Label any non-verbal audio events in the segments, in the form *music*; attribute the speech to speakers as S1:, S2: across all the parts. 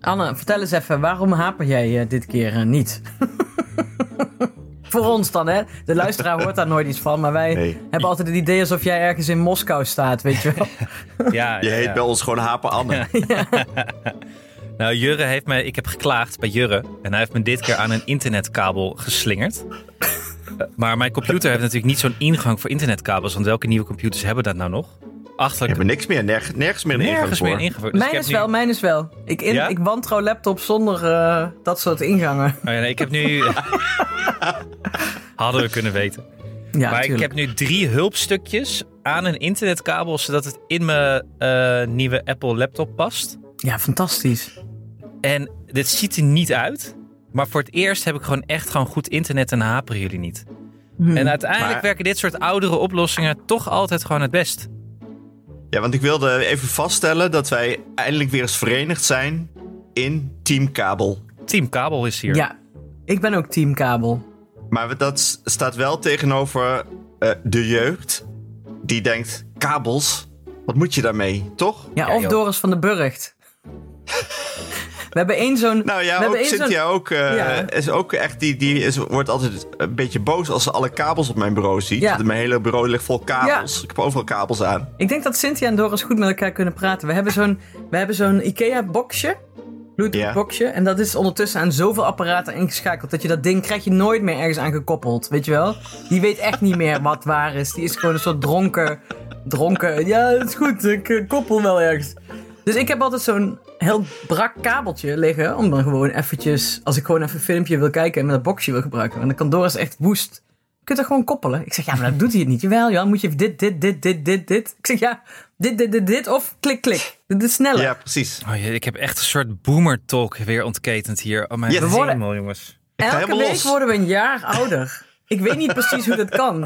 S1: Anne, vertel eens even, waarom haper jij eh, dit keer eh, niet?
S2: *laughs*
S1: Voor ons dan, hè? De luisteraar hoort daar nooit iets van, maar wij
S3: Nee.
S1: hebben altijd het idee alsof jij ergens in Moskou staat, weet
S2: *laughs*
S1: je wel?
S2: Dus
S3: *laughs*
S2: Ja,
S3: Je
S2: ja,
S3: heet
S2: ja.
S3: bij ons gewoon Hapen
S1: *laughs*
S3: Anne.
S2: Nou, Jurre heeft mij. Ik heb geklaagd bij Jurre. En hij heeft me dit keer aan een internetkabel geslingerd. Eh, Maar mijn computer heeft natuurlijk niet zo'n ingang voor internetkabels. Want welke nieuwe computers hebben dat nou nog?
S3: Ik
S2: Achterlijk.
S3: heb er niks meer, nerg- nergens meer een ingang
S2: Nergens meer
S3: voor.
S2: een ingang. voor. Dus
S1: mijn
S2: ik
S1: is
S2: heb
S1: wel,
S2: nu-
S1: mijn is wel. Ik, in,
S2: Ja?
S1: ik wantrouw laptops zonder eh, dat soort
S2: *laughs*
S1: ingangen.
S2: Oh ja, nee, ik heb
S1: *laughs*
S2: nu. Hadden we kunnen weten.
S1: Ja,
S2: maar ik
S1: tuurlijk.
S2: heb nu drie hulpstukjes aan een internetkabel. Zodat het in mijn eh, nieuwe Apple laptop past.
S1: Ja, fantastisch.
S2: En dit ziet er niet uit. Maar voor het eerst heb ik gewoon echt gewoon goed internet en haperen jullie niet.
S1: Hmm.
S2: En uiteindelijk
S3: Maar-
S2: werken dit soort oudere oplossingen toch altijd gewoon het best.
S3: Ja, want ik wilde even vaststellen dat wij eindelijk weer eens verenigd zijn in Team Kabel.
S2: Team Kabel is hier.
S1: Ja, ik ben ook teamkabel.
S3: Maar dat s- staat wel tegenover eh, de jeugd. Die denkt, kabels, wat moet je daarmee, toch?
S1: Ja,
S2: Ja,
S1: of
S2: joh.
S1: Doris van den
S2: *laughs*
S1: Burgt. We hebben één zo'n...
S3: Nou
S1: we
S3: ja, ook
S1: hebben één zo'n-
S3: Cynthia ook, eh,
S1: Ja.
S3: is ook echt, die, die is, wordt altijd een beetje boos als ze alle kabels op mijn bureau ziet.
S1: Ja.
S3: Mijn hele bureau ligt vol kabels. Ik heb overal kabels aan.
S1: Ik denk dat Cynthia en Doris goed met elkaar kunnen praten. We hebben zo'n, we hebben zo'n IKEA-boxje. Bluetooth-boxje. En dat is ondertussen aan zoveel apparaten ingeschakeld. Dat je dat ding krijg je nooit meer ergens aan gekoppeld. Weet je wel? Die weet echt niet meer wat waar is. Die is gewoon een soort dronken. Dronken. Ja, het is goed. Ik eh, koppel wel ergens. Dus ik heb altijd zo'n heel brak kabeltje liggen. Om dan gewoon eventjes. Als ik gewoon even een filmpje wil kijken. En met dat boxje wil gebruiken. En dan kan Doris echt woest. Je kunt er gewoon koppelen. Ik zeg, ja, maar dat doet hij het niet. Jawel, Jan, moet je even dit, dit, dit, dit, dit, dit. Ik zeg, ja, dit, dit, dit, dit. Of klik, klik. Dit is sneller.
S3: Ja, precies.
S2: Oh jee, ik heb echt een soort boomer talk weer ontketend hier. Oh mijn
S3: Ja, we
S2: hemel,
S1: worden-
S2: jongens.
S3: ga
S1: Elke
S3: helemaal
S1: week
S3: los.
S1: worden we een jaar ouder. Ik weet niet precies hoe dat kan.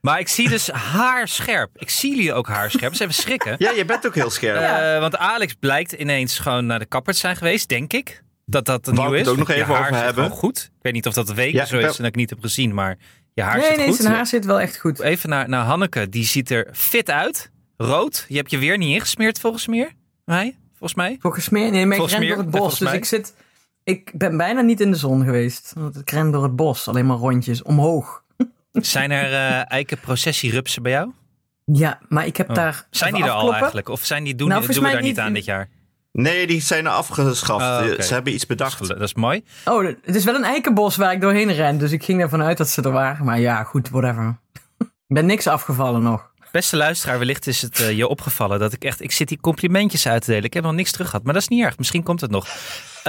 S2: Maar ik zie dus *laughs* haarscherp. Ik zie jullie ook haarscherp. Dat is even
S3: *laughs*
S2: schrikken.
S3: Ja, je bent ook heel scherp.
S1: Ja.
S2: Eh, want Alex blijkt ineens gewoon naar de kapper te zijn geweest, denk ik. Dat dat een
S3: Wou
S2: nieuw
S3: ik
S2: is.
S3: het ook nog
S2: Je
S3: even
S2: haar
S3: over
S2: zit
S3: hebben?
S2: gewoon goed. Ik weet niet of dat weken
S3: Ja,
S2: zo
S3: ik
S2: is
S3: heb-
S2: en dat ik niet heb gezien, maar je haar
S1: Nee,
S2: zit
S1: nee,
S2: goed.
S1: zijn haar zit wel echt goed.
S2: Even naar, naar Hanneke. Die ziet er fit uit. Rood. Je hebt je weer niet ingesmeerd volgens mij. Mij? Volgens mij.
S1: Volgens mij, nee, maar ik
S2: Volgens
S1: ren
S2: meer,
S1: door het bos.
S2: en volgens
S1: Dus
S2: mij.
S1: ik zit, ik ben bijna niet in de zon geweest. Want ik ren door het bos, alleen maar rondjes, omhoog.
S2: Zijn er eh eikenprocessierupsen bij jou?
S1: Ja, maar ik heb daar...
S2: Oh. Zijn
S1: even
S2: die er al
S1: afkloppen.
S2: eigenlijk? Of zijn die doen,
S1: Nou,
S2: doen
S1: volgens
S2: we
S1: mij
S2: daar niet
S1: niet.
S2: aan dit jaar?
S3: Nee, die zijn er afgeschaft.
S2: Ah, oké.
S3: Ze hebben iets
S2: Dat is,
S3: bedacht.
S2: gelu- dat is mooi.
S1: Oh, het is wel een eikenbos waar ik doorheen ren. Dus ik ging ervan uit dat ze er waren. Maar ja, goed, whatever. Ik ben niks afgevallen nog.
S2: Beste luisteraar, wellicht is het eh, je opgevallen dat ik echt... Ik zit die complimentjes uit te delen. Ik heb nog niks terug gehad, maar dat is niet erg. Misschien komt het nog. Eh,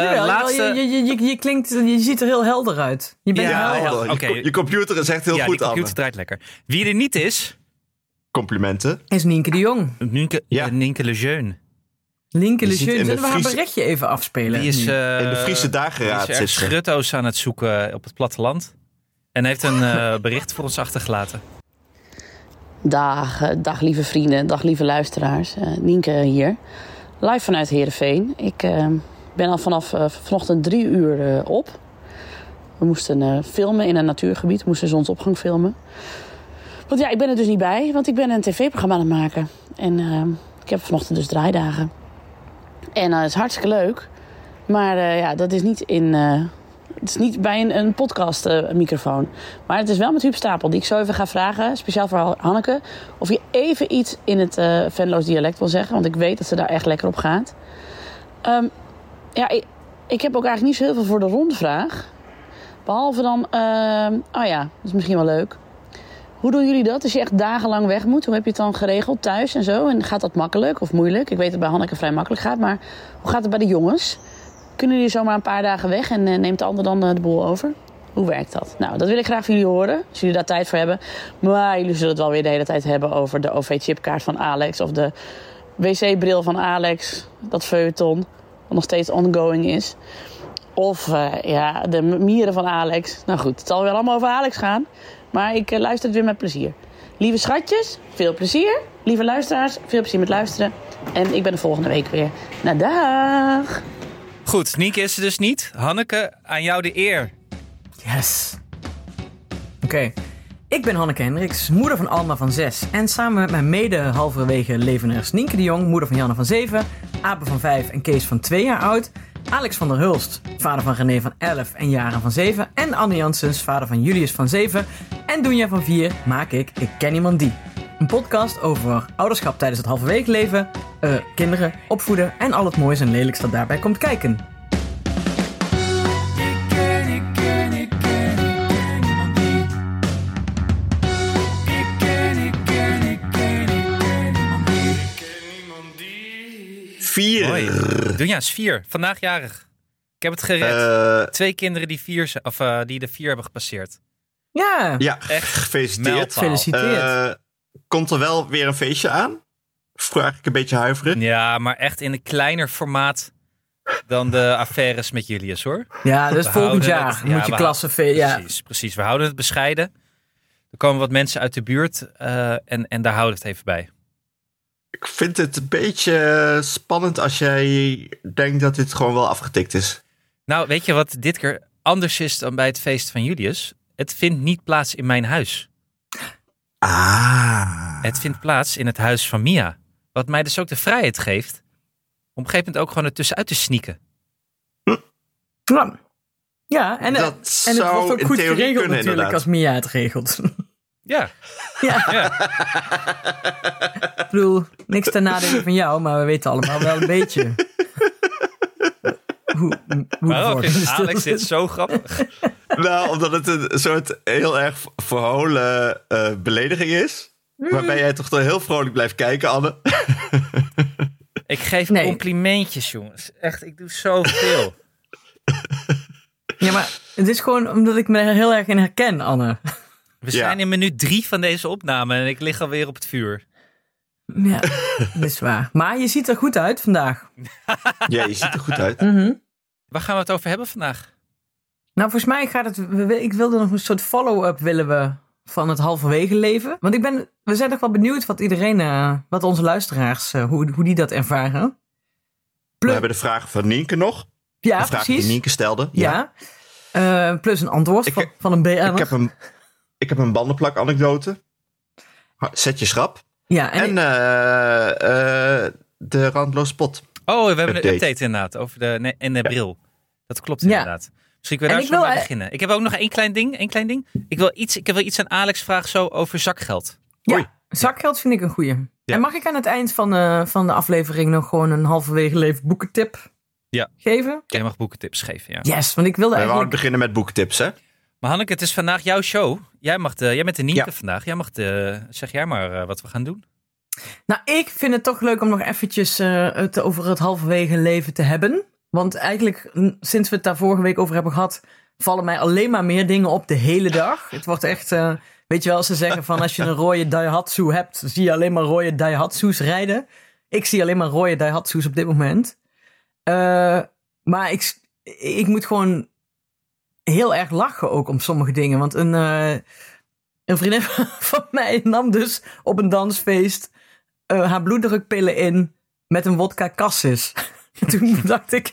S1: Jawel, jawel,
S2: laatste...
S1: je, je, je, je klinkt, je ziet er heel helder uit. Je bent
S2: Ja,
S1: helder.
S3: helder. Je
S2: ja, oké.
S3: co- je, computer is echt heel
S2: ja,
S3: goed,
S2: die computer
S3: Anne.
S2: draait lekker. Wie er niet is...
S3: Complimenten.
S1: Is Nienke de Jong.
S2: Nienke,
S3: Ja.
S2: eh, Nienke Lejeune.
S1: Linke
S3: Je
S1: de
S3: ziet
S1: Jeune.
S3: in de
S1: Zullen we haar
S3: Friese-
S1: berichtje even afspelen?
S2: Die is,
S1: nu?
S2: eh,
S3: In de Friese dageraad
S2: die is
S3: zit
S2: ergens
S3: ze.
S2: grutto's aan het zoeken op het platteland. En heeft een eh, *laughs* bericht voor ons achtergelaten.
S4: Dag, eh, dag lieve vrienden, dag lieve luisteraars. Eh, Nienke hier, live vanuit Heerenveen. Ik eh, ben al vanaf eh, vanochtend drie uur eh, op. We moesten eh, filmen in een natuurgebied, we moesten zonsopgang filmen. Want ja, ik ben er dus niet bij, want ik ben een tv-programma aan het maken. En eh, ik heb vanochtend dus draaidagen. En dat is hartstikke leuk, maar eh, ja, dat is niet in... eh, het is niet bij een, eh, een podcastmicrofoon. maar het is wel met Huub Stapel, die ik zo even ga vragen, speciaal voor Hanneke, of je even iets in het eh Venloos dialect wil zeggen. Want ik weet dat ze daar echt lekker op gaat. Ehm, ja, ik, ik heb ook eigenlijk niet zo heel veel voor de rondvraag. Behalve dan, ehm, oh ja, dat is misschien wel leuk. Hoe doen jullie dat als je echt dagenlang weg moet? Hoe heb je het dan geregeld thuis en zo? En gaat dat makkelijk of moeilijk? Ik weet dat het bij Hanneke vrij makkelijk gaat, maar hoe gaat het bij de jongens? Kunnen jullie zomaar een paar dagen weg en eh, neemt de ander dan eh, de boel over? Hoe werkt dat? Nou, dat wil ik graag van jullie horen, als jullie daar tijd voor hebben. Maar jullie zullen het wel weer de hele tijd hebben over de OV-chipkaart van Alex of de wc-bril van Alex, dat feuilleton, wat nog steeds ongoing is. Of eh, ja, de m- mieren van Alex. Nou goed, het zal weer allemaal over Alex gaan. Maar ik eh, luister het weer met plezier. Lieve schatjes, veel plezier. Lieve luisteraars, veel plezier met luisteren. En ik ben de volgende week weer. Nou, dag!
S2: Goed, Nienke is er dus niet. Hanneke, aan jou de eer.
S1: Yes. Oké. Ik ben Hanneke Hendricks, moeder van Alma van 6. En samen met mijn mede halverwege levenaars Nienke de Jong, moeder van Janne van 7, Abe van 5 en Kees van 2 jaar oud. Alex van der Hulst, vader van René van 11 en Jaren van 7. En Anne Janssens, vader van Julius van 7. En Doenja van 4 maak ik Ik Ken Iemand Die. Een podcast over ouderschap tijdens het halve weekleven, eh, kinderen, opvoeden en al het moois en lelijks dat daarbij komt kijken.
S3: Vier.
S2: Mooi. Dunja is vier. Vandaag jarig. Ik heb het gered.
S3: Eh,
S2: Twee kinderen die, vier, zijn- of, eh, die de vier hebben gepasseerd.
S1: Ja,
S3: ja,
S2: Echt
S3: gefeliciteerd.
S2: mijlpaal.
S1: gefeliciteerd.
S3: Eh, komt er wel weer een feestje aan? Vraag ik een beetje huiverig.
S2: Ja, maar echt in een kleiner formaat dan
S3: *laughs*
S2: de affaires met Julius hoor.
S1: ja dus
S2: We
S1: volgend
S2: houden
S1: jaar
S2: het- ja,
S1: moet je
S2: we
S1: klassen... ve- Ja.
S2: Precies, precies. We houden het bescheiden. Er komen wat mensen uit de buurt eh, en, en daar houden we het even bij.
S3: Ik vind het een beetje eh, spannend als jij denkt dat dit gewoon wel afgetikt is.
S2: Nou, weet je wat dit keer anders is dan bij het feest van Julius? Het vindt niet plaats in mijn huis.
S3: Ah.
S2: Het vindt plaats in het huis van Mia. Wat mij dus ook de vrijheid geeft om op een gegeven moment ook gewoon ertussenuit te sneaken.
S1: Nou, Ja, en,
S3: Dat
S1: eh, en het
S3: zou
S1: wordt ook
S3: in
S1: goed
S3: theorie
S1: geregeld
S3: kunnen,
S1: natuurlijk
S3: inderdaad.
S1: als Mia het regelt. *laughs*
S2: Ja.
S1: ja. Ik bedoel, niks ten nadele van jou, maar we weten allemaal wel een
S3: *laughs*
S1: beetje. hoe hoe
S2: Waarom
S1: het
S2: vindt
S1: wordt.
S2: Alex dit zo grappig?
S3: *laughs* Nou, omdat het een soort heel erg verholen eh, belediging is. Waarbij
S2: Hmm.
S3: jij toch wel heel vrolijk blijft kijken, Anne.
S2: Ik geef
S1: Nee.
S2: complimentjes, jongens. Echt, ik doe zoveel.
S1: *laughs* Ja, maar het is gewoon omdat ik me er heel erg in herken,
S3: *laughs*
S1: Anne.
S3: Ja.
S2: We zijn in minuut drie van deze opname en ik lig alweer op het vuur.
S1: Ja, dat is waar. Maar je ziet er goed uit vandaag.
S3: Ja, je ziet er goed uit.
S2: Waar gaan we het over hebben vandaag?
S1: Nou, volgens mij gaat het. we- we- Ik wilde nog een soort follow-up willen we van het halverwege leven. Want ik ben, we zijn toch wel benieuwd wat iedereen, eh, wat onze luisteraars, eh, hoe, hoe die dat ervaren.
S3: We hebben de vraag van Nienke nog.
S1: Ja,
S3: de vraag die
S1: precies.
S3: Nienke stelde.
S1: Ja. Eh, plus een antwoord
S3: Ik-
S1: van, van een BN'er.
S3: Ik heb een, ik heb een bandenplak anekdote. Zet je schrap.
S1: ja, en,
S3: En, eh, eh, de randloos pot.
S2: Oh, we hebben een
S3: Update.
S2: update inderdaad over de, nee, en de bril. Dat klopt
S1: Ja.
S2: inderdaad. Misschien kunnen
S1: En
S2: we daar
S1: ik wil,
S2: zo mee
S1: eh,
S2: beginnen. Ik heb ook nog één klein ding. Één klein ding. Ik, wil iets, ik heb wel iets aan Alex vragen zo over zakgeld.
S1: ja,
S3: Oei.
S1: zakgeld vind ik een goeie.
S2: Ja.
S1: En mag ik aan het eind van, eh, van de aflevering nog gewoon een halverwege leven boekentip
S2: Ja.
S1: geven?
S2: Jij mag boekentips geven, ja.
S1: Yes, want ik wilde
S3: We wouden
S1: eigenlijk...
S3: beginnen met boektips, hè?
S2: Maar Hanneke, het is vandaag jouw show. Jij, mag de, jij bent de Nienke
S3: Ja.
S2: vandaag. Jij mag de, zeg jij maar eh, wat we gaan doen. *laughs*
S1: Nou, ik vind het toch leuk om nog eventjes eh, het over het halverwege leven te hebben. Want eigenlijk, n- sinds we het daar vorige week over hebben gehad, vallen mij alleen maar meer dingen op de hele dag. Het wordt echt, eh, weet je wel, ze zeggen van als je een rode Daihatsu hebt, zie je alleen maar rode Daihatsu's rijden. Ik zie alleen maar rode Daihatsu's op dit moment. Eh, maar ik, s- ik moet gewoon heel erg lachen ook om sommige dingen. Want een, eh, een vriendin *laughs* van- van mij nam dus op een dansfeest eh, haar bloeddrukpillen in met een wodka cassis. *laughs* Toen dacht ik,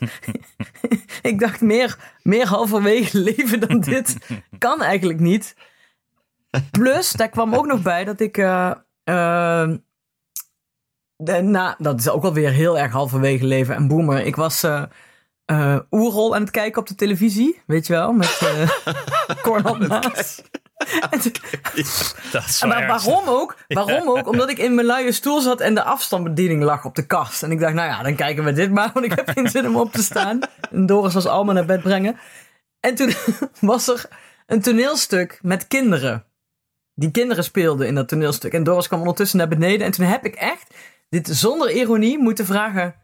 S1: *laughs* ik dacht meer, meer halverwege *laughs* leven dan dit kan eigenlijk niet. Plus, daar kwam ook nog bij dat ik, eh, eh, de- na, dat is ook alweer heel erg halverwege leven en boemer. Ik was eh eh, Oerol aan het kijken op de televisie, weet je wel, met eh Cornel Maas. *laughs* En toen-
S2: Dat is
S1: Ah, maar waarom ook? Waarom ook? Omdat ik in mijn luie stoel zat en de afstandsbediening lag op de kast. En ik dacht, nou ja, dan kijken we dit maar, *laughs* want ik heb geen zin om op te staan. En Doris was allemaal naar bed brengen. En toen *laughs* was er een toneelstuk met kinderen. Die kinderen speelden in dat toneelstuk. En Doris kwam ondertussen naar beneden. En toen heb ik echt, dit zonder ironie, moeten vragen...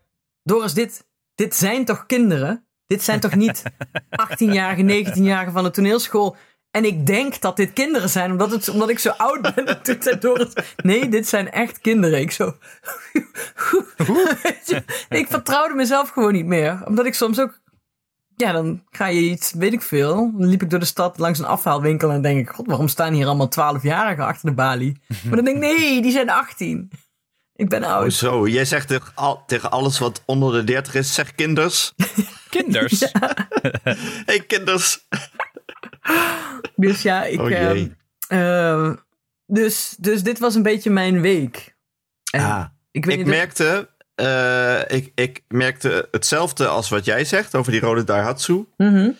S1: Doris, dit, dit zijn toch kinderen? Dit zijn toch niet 18-jarige, 19-jarige van de toneelschool? En ik denk dat dit kinderen zijn, omdat, het, omdat ik zo oud ben. En Toen zei Doris, nee, dit zijn echt kinderen. Ik zo... Weet je, *laughs* ik vertrouwde mezelf gewoon niet meer. Omdat ik soms ook... Ja, dan ga je iets, weet ik veel. Dan liep ik door de stad langs een afhaalwinkel en denk ik... God, waarom staan hier allemaal 12-jarigen achter de balie? Maar dan denk ik, nee, die zijn 18. Ik ben oud.
S3: Hoezo? Jij zegt tegen, al- tegen alles wat onder de 30 is,
S1: *laughs*
S3: zeg kinders.
S2: Kinders.
S3: hey, kinders.
S1: Dus ja, ik.
S3: Oh, jee.
S1: ehm, ehm, dus, dus dit was een beetje mijn week. En
S3: Ah,
S1: ik weet
S3: ik
S1: niet of-
S3: merkte eh, ik, ik merkte hetzelfde als wat jij zegt over die rode Daihatsu.
S1: Mhm.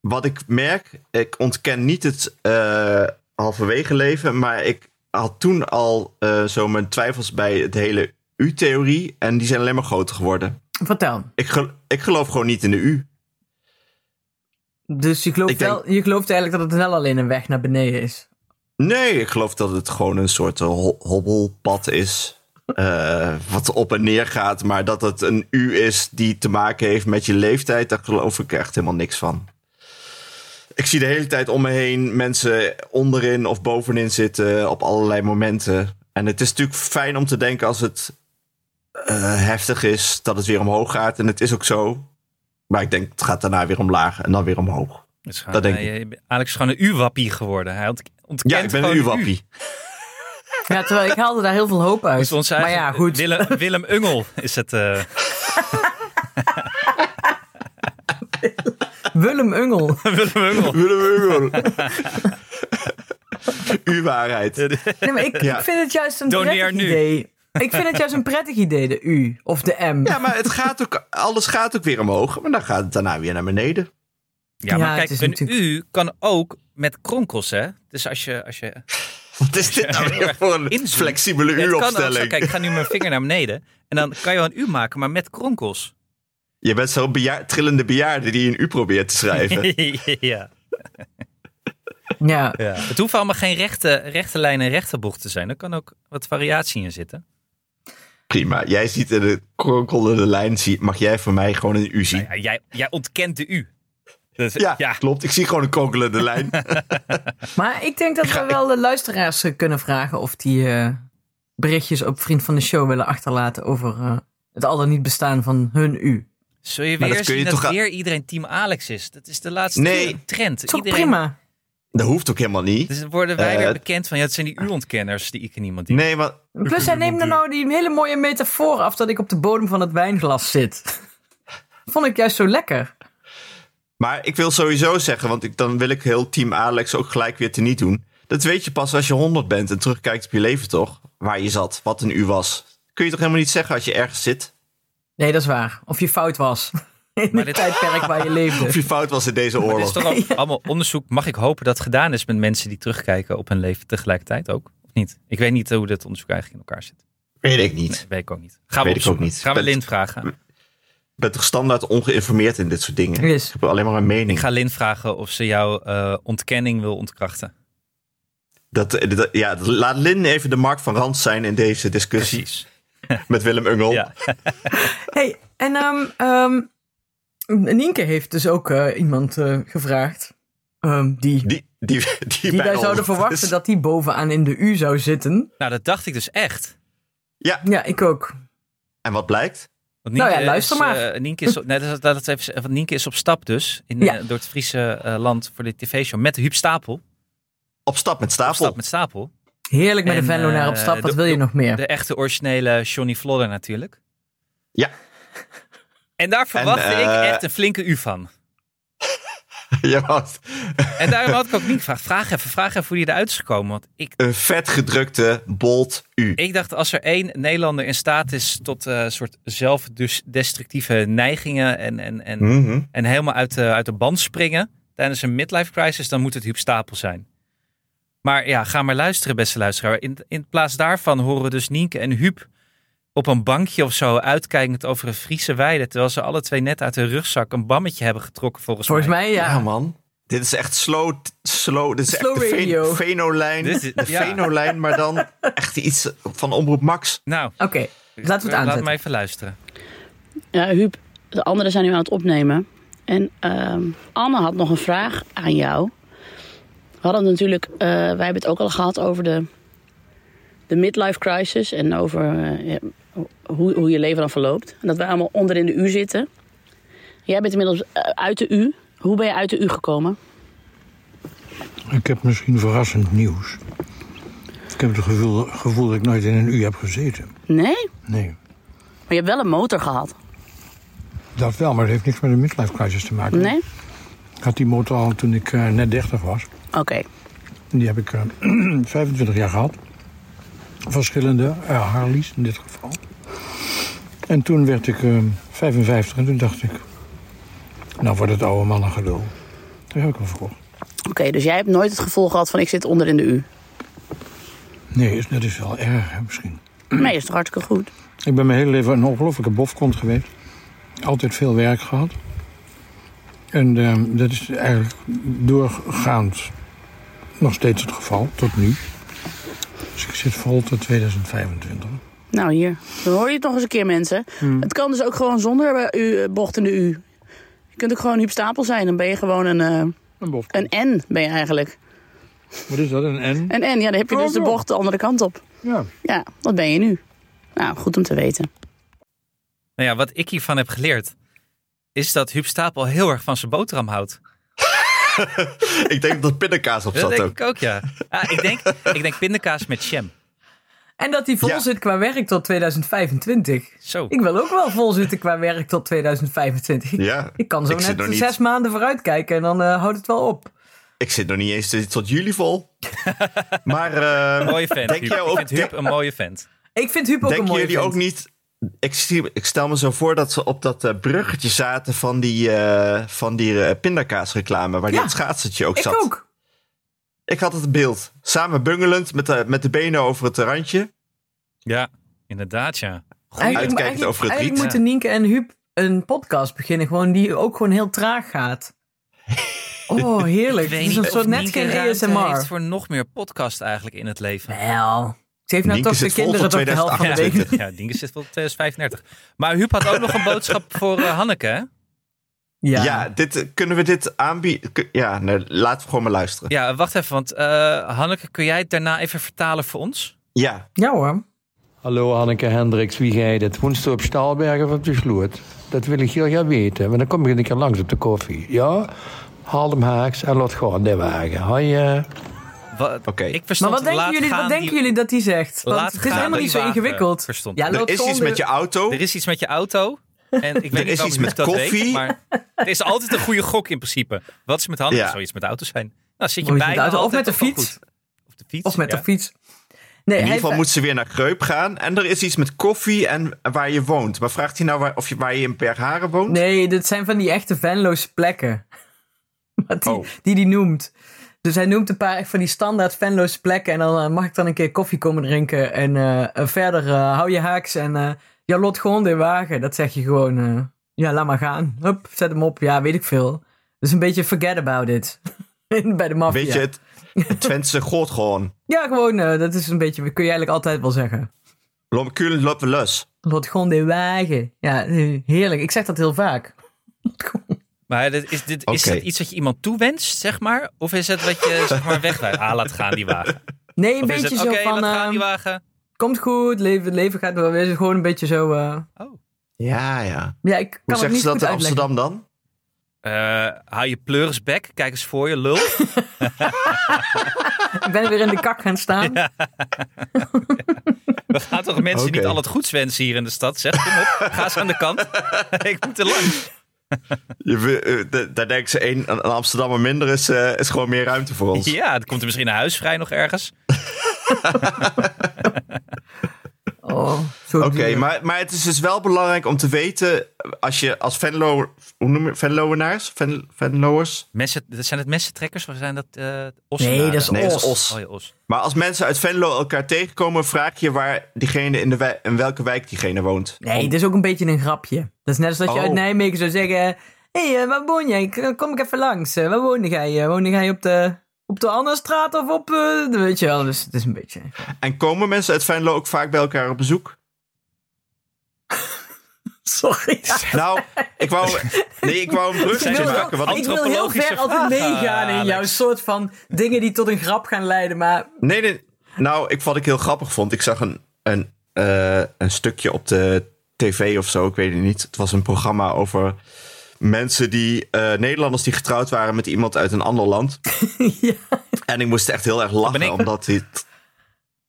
S3: Wat ik merk, ik ontken niet het eh, halverwege leven, maar ik had toen al eh, zo mijn twijfels bij het hele U-theorie en die zijn alleen maar groter geworden.
S1: Vertel.
S3: Ik, gel- ik geloof gewoon niet in de U.
S1: Dus je gelooft,
S3: Ik denk-
S1: wel, je gelooft eigenlijk dat het wel alleen een weg naar beneden is.
S3: Nee, ik geloof dat het gewoon een soort eh, ho- hobbelpad is. eh, wat op en neer gaat, maar dat het een U is die te maken heeft met je leeftijd, daar geloof ik echt helemaal niks van. Ik zie de hele tijd om me heen mensen onderin of bovenin zitten op allerlei momenten. En het is natuurlijk fijn om te denken als het eh, heftig is, dat het weer omhoog gaat. En het is ook zo. Maar ik denk, het gaat daarna weer omlaag en dan weer omhoog.
S2: Dus gewoon,
S3: Dat denk
S2: hij, eh, Alex is gewoon een uwappie geworden. Hij ont- ontkent
S3: Ja, ik ben een
S2: gewoon de
S3: U-wappie.
S1: Ja, terwijl ik haalde daar heel veel hoop uit.
S2: Dus ons
S1: maar
S2: eigen-
S1: ja, goed.
S2: Willem, Willem Ungel is het. eh,
S1: Willem
S2: *laughs*
S1: Ungel.
S2: Willem Ungel. *laughs*
S3: Uw waarheid.
S1: Nee, maar ik,
S3: Ja.
S1: ik vind het juist een
S2: Doneer
S1: prettig
S2: nu.
S1: idee. Ik vind het juist een prettig idee, de U of de M.
S3: Ja, maar het gaat ook, alles gaat ook weer omhoog. Maar dan gaat het daarna weer naar beneden.
S2: Ja,
S1: Ja,
S2: maar
S1: het
S2: kijk,
S1: is
S2: een
S1: natuurlijk-
S2: U kan ook met kronkels, hè? Dus als je. Als je
S3: Wat is dit nou weer voor een
S2: Inzoomen.
S3: flexibele
S2: Ja, het kan ook zo. Kijk, ik
S3: uuropstelling?
S2: ga nu mijn vinger naar beneden. En dan kan je wel een U maken, maar met kronkels.
S3: Je bent zo'n bejaar- trillende bejaarde die een u probeert te schrijven.
S2: *laughs* ja,
S1: Ja.
S2: ja. Het hoeft allemaal geen rechte, rechte lijn en rechte bocht te zijn. Er kan ook wat variatie in zitten.
S3: Prima. Jij ziet in de kronkelende lijn, zie- mag jij voor mij gewoon een u zien?
S2: Nou Ja, jij, jij ontkent de U. Dus,
S3: Ja, klopt. Ik zie gewoon een kronkelende
S2: *laughs*
S3: lijn.
S1: Maar ik denk dat we wel de luisteraars eh, kunnen vragen of die eh, berichtjes op Vriend van de Show willen achterlaten over eh, het al dan niet bestaan van hun U.
S2: Zul je
S3: Maar dat
S2: weer
S3: kun
S2: zien
S3: je
S2: dat
S3: toch aan-
S2: weer iedereen team Alex is? Dat is de laatste
S3: Nee.
S2: trend.
S1: Is toch
S2: Iedereen-
S1: prima?
S3: Dat hoeft ook helemaal niet.
S2: Dus dan worden wij weer
S3: Eh,
S2: bekend van, ja, het zijn die U-ontkenners die ik en niemand die.
S3: Nee, want
S1: Plus hij neemt er nou die hele mooie metafoor af dat ik op de bodem van het wijnglas zit. *laughs* Vond ik juist zo lekker.
S3: Maar ik wil sowieso zeggen, want ik, dan wil ik heel team Alex ook gelijk weer teniet doen. Dat weet je pas als je 100 bent en terugkijkt op je leven toch? Waar je zat, wat een u was. Kun je toch helemaal niet zeggen als je ergens zit?
S1: Nee, dat is waar. Of je fout was. *laughs* In
S2: Maar
S1: het
S2: dit-
S1: tijdperk waar je
S2: *laughs*
S3: Of
S1: leefde.
S3: je fout was in deze
S2: Maar dit is
S3: oorlog.
S2: toch
S1: *laughs*
S2: al- allemaal onderzoek, mag ik hopen dat gedaan is met mensen die terugkijken op hun leven tegelijkertijd ook? Of niet? Ik weet niet hoe dat onderzoek eigenlijk in elkaar zit.
S3: Weet ik niet.
S2: Nee, weet ik ook niet. Gaan we
S3: Weet ik
S2: opzoeken.
S3: ook niet.
S2: Gaan we
S3: Ben-
S2: Lin vragen.
S3: Ik ben toch standaard ongeïnformeerd in dit soort dingen.
S1: Yes.
S3: Ik heb alleen maar een
S2: Ik
S3: mening.
S2: ga Lin vragen of ze jouw eh, ontkenning wil ontkrachten.
S3: Dat, eh, dat- ja, dat- laat Lin even de Mark van Rand zijn in deze discussie
S2: Precies.
S3: met Willem Ungel.
S2: Ja.
S1: Hey, en ehm, ehm, Nienke heeft dus ook eh, iemand eh, gevraagd. ehm, die, die,
S3: Die, die, die, bijna
S1: wij zouden
S3: honderd
S1: verwachten
S3: is.
S1: dat die bovenaan in de U zou zitten.
S2: *laughs* Nou, dat dacht ik dus echt.
S3: Ja,
S1: Ja, ik ook.
S3: en wat blijkt?
S2: Want
S1: Nou
S2: Nienke
S1: ja, luister
S2: is, eh,
S1: maar.
S2: Nienke, is op, nee, dat, dat, dat even, zeggen, want Nienke is op stap dus in,
S1: Ja.
S2: eh, door het Friese eh, land voor de tv-show met Huub Stapel. Op
S3: Op stap met stapel. *laughs*
S2: Stap met Stapel.
S1: Heerlijk met
S2: En,
S1: een Venlo naar op
S2: eh,
S1: stap. Wat
S2: de-
S1: wil je
S2: de-
S1: nog meer?
S2: De echte originele Johnny Flodder natuurlijk.
S3: Ja.
S2: En daar verwachtte
S3: eh,
S2: ik echt een flinke U van.
S3: Je was
S2: En daarom had ik ook niet gevraagd. Vraag even, vraag even hoe die eruit is gekomen. Want ik,
S3: een vetgedrukte bold U.
S2: ik dacht, als er één Nederlander in staat is tot eh soort zelfdestructieve neigingen en, en, en,
S3: Mhm.
S2: en helemaal uit de, uit de band springen tijdens een midlife crisis, dan moet het Huub Stapel zijn. Maar ja, ga maar luisteren, beste luisteraar. In, in plaats daarvan horen we dus Nienke en Huub op een bankje of zo uitkijkend over een Friese weide, terwijl ze alle twee net uit hun rugzak een bammetje hebben getrokken volgens,
S1: Volgens mij, ja.
S3: Ja, man. Dit is echt slow, slow dit is
S1: Slow
S3: echt de
S1: radio.
S3: Ven- Venolijn.
S1: *laughs*
S2: Dit is-
S3: De
S2: ja.
S3: Venolijn, maar dan echt iets van Omroep Max.
S2: Nou,
S1: Oké, laten we het
S2: laat
S1: aanzetten.
S2: mij even luisteren.
S4: Ja, Huub, de anderen zijn nu aan het opnemen. En ehm, Anne had nog een vraag aan jou. We hadden het natuurlijk, eh, wij hebben het ook al gehad over de, de midlife crisis en over eh, ja, hoe, hoe je leven dan verloopt. En dat wij allemaal onder in de U zitten. Jij bent inmiddels eh, uit de U. Hoe ben je uit de U gekomen?
S5: Ik heb misschien verrassend nieuws. Ik heb het gevoel, gevoel dat ik nooit in een U heb gezeten.
S4: Nee?
S5: Nee.
S4: Maar je hebt wel een motor gehad.
S5: Dat wel, maar het heeft niks met de midlife crisis te maken.
S4: Nee?
S5: Ik had die motor al toen ik eh, net 30 was.
S4: Oké.
S5: En Die heb ik eh, *clears throat* 25 jaar gehad. Verschillende eh, Harleys in dit geval. En toen werd ik eh, 55 en toen dacht ik... Nou wordt het oude mannen gelul. Daar heb ik hem verkocht.
S4: Oké, dus jij hebt nooit het gevoel gehad van ik zit onder in de U.
S5: Nee, is- dat is wel erg hè, misschien.
S4: Nee, is toch hartstikke goed.
S5: Ik ben mijn hele leven een ongelofelijke bofkont geweest. Altijd veel werk gehad. En eh, dat is eigenlijk doorgaand nog steeds het geval, tot nu. Dus ik zit vol tot 2025.
S4: Nou, hier. Dan hoor je het nog eens een keer, mensen. Het kan dus ook gewoon zonder eh, u, eh, bocht in de U. Je kunt ook gewoon Huub Stapel zijn. Dan ben je gewoon een, eh,
S5: Een bofkont.
S4: een N, ben je eigenlijk.
S5: Wat is dat, een N?
S4: Een N, ja, dan heb je dus de bocht de andere kant op.
S5: Ja.
S4: Ja, dat ben je nu. Nou, goed om te weten.
S2: Nou ja, wat ik hiervan heb geleerd, is dat Huub Stapel heel erg van zijn boterham houdt.
S3: Ik denk dat pindakaas op
S2: Dat
S3: zat
S2: denk
S3: ook.
S2: ik ook, ja. Ah, ik, denk, ik denk pindakaas met jam.
S1: En dat hij vol
S3: Ja.
S1: zit qua werk tot 2025.
S2: Zo.
S1: Ik wil ook wel vol zitten qua werk tot 2025. Ik-
S3: Ja.
S1: Ik kan zo
S3: Ik zit
S1: net
S3: nog niet-
S1: zes maanden vooruit kijken en dan eh, houdt het wel op.
S3: Ik zit nog niet eens tot- tot juli
S2: *laughs*
S3: vol. Maar eh,
S2: Mooie vent.
S3: denk
S2: Huub.
S3: jij ook...
S2: Ik vind Huub een mooie vent.
S1: Ik vind Huub ook een
S3: Denken
S1: mooie
S3: jullie
S1: vent.
S3: ook niet... Ik, zie- ik stel me zo voor dat ze op dat eh, bruggetje zaten van die, eh, van die eh, pindakaasreclame. Waar
S1: Ja.
S3: dit schaatsertje ook
S1: Ik
S3: zat.
S1: ook.
S3: Ik had het beeld. Samen bungelend met de, met de benen over het randje.
S2: Ja, inderdaad, ja.
S3: Uitkijkend
S1: eigenlijk-
S3: over het
S1: eigenlijk
S2: riet.
S1: moeten Nienke en Huub een podcast beginnen. Gewoon die ook gewoon heel traag
S3: *laughs*
S1: gaat. Oh, heerlijk. Het is een soort net geen
S2: heeft
S1: ASMR.
S2: voor nog meer podcast eigenlijk in het leven.
S1: Wel. Ze heeft nou
S3: Nienke
S1: toch de
S3: zit vol
S1: kinderen
S3: tot
S1: toch de helft van de
S2: Ja,
S1: week.
S3: 2028.
S2: ja Dinge zit wel op 2035. Maar Huub had ook nog een boodschap
S1: *laughs*
S2: voor eh, Hanneke, hè?
S1: *laughs* Ja.
S3: Ja, dit, eh, kunnen we dit aanbieden? Kun- Ja, nee, laten we gewoon maar luisteren.
S2: Ja, wacht even, want eh, Hanneke, kun jij het daarna even vertalen voor ons?
S3: Ja,
S1: ja hoor.
S6: Hallo Hanneke Hendricks, wie gij dit? Woonst u op Staalberg of op de Sloot? Dat wil ik heel graag weten, want dan kom ik een keer langs op de koffie. Ja? Haal hem haaks en laat gaan de wagen. Hoi. eh.
S2: Wat,
S3: Oké.
S2: Ik
S1: Maar
S2: verstand
S1: wat denken,
S2: laat
S1: jullie,
S2: gaan
S1: wat denken
S2: die-
S1: jullie dat hij zegt? Want
S2: Laat
S1: het is
S2: gaan
S1: helemaal
S2: die
S1: niet zo
S2: wagen,
S1: ingewikkeld.
S2: verstond
S1: Ja,
S2: ik.
S3: er
S1: loopt
S3: is
S1: gewoon
S3: iets
S1: de-
S3: met je auto.
S2: Er is iets met je auto.
S3: *laughs*
S2: En ik weet
S3: is
S2: niet waarom
S3: iets
S2: ik
S3: met
S2: dat
S3: koffie.
S2: weet, maar er is altijd een goede gok in principe. Wat is met handen?
S3: Ja.
S2: Zou iets met auto's zijn? Nou, zit
S1: Moet
S2: je
S1: je
S2: bij
S1: met de auto of met de fiets?
S2: Of de fiets.
S1: Of met
S2: ja.
S1: de fiets. Nee,
S3: In
S1: hij-
S3: ieder geval moet ze weer naar Greup gaan. En er is iets met koffie en waar je woont. Maar vraagt hij nou waar, of je, waar je in Bergharen woont?
S1: Nee, dit zijn van die echte Venloze plekken. *laughs* Wat die,
S3: Oh.
S1: die die noemt. Dus hij noemt een paar echt van die standaard Venloze plekken. En dan eh, mag ik dan een keer koffie komen drinken. En eh, eh, verder eh, hou je haaks en eh ja, lot gewoon de wagen. Dat zeg je gewoon. eh, ja, laat maar gaan. Hup, zet hem op. Ja, weet ik veel. Dus een beetje forget about it. *laughs* Bij de maffia.
S3: Weet je, het,
S1: *laughs*
S3: het Twentse god gewoon.
S1: Ja, gewoon. eh, dat is een beetje. Dat kun je eigenlijk altijd wel zeggen.
S3: Lomkulen lopen los.
S1: Lot gewoon de wagen. Ja, eh, heerlijk. Ik zeg dat heel vaak.
S2: Maar dit, is, dit, is
S3: Oké.
S2: dat iets wat je iemand toewenst, zeg maar? Of is het wat
S3: *laughs*
S2: je zeg maar wegwijst? Ah, laat gaan die wagen.
S1: Nee, een
S2: Of is
S1: beetje
S2: het,
S1: zo
S2: oké,
S1: van.
S2: laat gaan
S1: ehm,
S2: die wagen.
S1: komt goed, leven, het leven gaat wel weer. Gewoon een beetje zo. eh,
S2: Oh.
S3: Ja, ja.
S1: ja, ik kan
S3: Hoe
S1: het
S3: zeggen
S1: niet
S3: ze dat
S1: goed
S3: in
S1: uitleggen.
S3: Amsterdam dan?
S2: Eh, haal je pleuris bek, kijk eens voor je, lul.
S1: Ik ben weer in de kak gaan
S2: *laughs*
S1: staan.
S2: We gaan toch mensen
S3: Oké.
S2: niet al het goeds wensen hier in de stad? Zeg, kom op, ga eens aan de kant. *laughs* ik moet er langs.
S3: Je, we- eh, de- daar denken ze, één, een, een Amsterdammer minder is, eh, is gewoon meer ruimte voor
S1: *laughs*
S3: ons.
S2: Ja, er komt er misschien een huis vrij nog ergens.
S1: Oh, zo
S3: Oké,
S1: duur.
S3: maar, maar het is dus wel belangrijk om te weten, als je als Venlo, hoe noem je, Venloenaars? Ven, Venloers?
S2: Messen, zijn het messentrekkers of zijn dat eh
S1: Nee,
S2: ossenaren?
S1: dat is
S3: Nee, dat is
S1: os.
S3: os.
S2: Oh, ja, os.
S3: Maar als mensen uit Venlo elkaar tegenkomen, vraag je waar diegene in, de wij- in welke wijk diegene woont.
S1: Nee, dit is ook een beetje een grapje. Dat is net als dat je
S3: Oh.
S1: uit Nijmegen zou zeggen... Hé, hey, eh, waar woon jij? K- Kom ik even langs. Eh, waar woonde jij? Eh, Woonde jij op de, op de Annastraat of op... eh, de- weet je wel, dus het is een beetje...
S3: En komen mensen uit Venlo ook vaak bij elkaar op bezoek?
S1: Sorry. ja.
S3: Nou, ik wou, nee, ik wou een
S1: Ik
S3: brugje
S1: wil, wel-
S3: maken. Want,
S1: ik wil heel
S2: antropologische
S1: ver altijd
S2: vragen,
S1: meegaan in
S2: Alex.
S1: jouw soort van dingen die tot een grap gaan leiden. Maar
S3: nee, nee, nou, ik, wat ik heel grappig vond, ik zag een, een, eh, een stukje op de tv of zo, ik weet het niet. Het was een programma over mensen die, eh, Nederlanders die getrouwd waren met iemand uit een ander land.
S1: ja.
S3: En ik moest echt heel erg lachen,
S2: ben ik.
S3: omdat dit...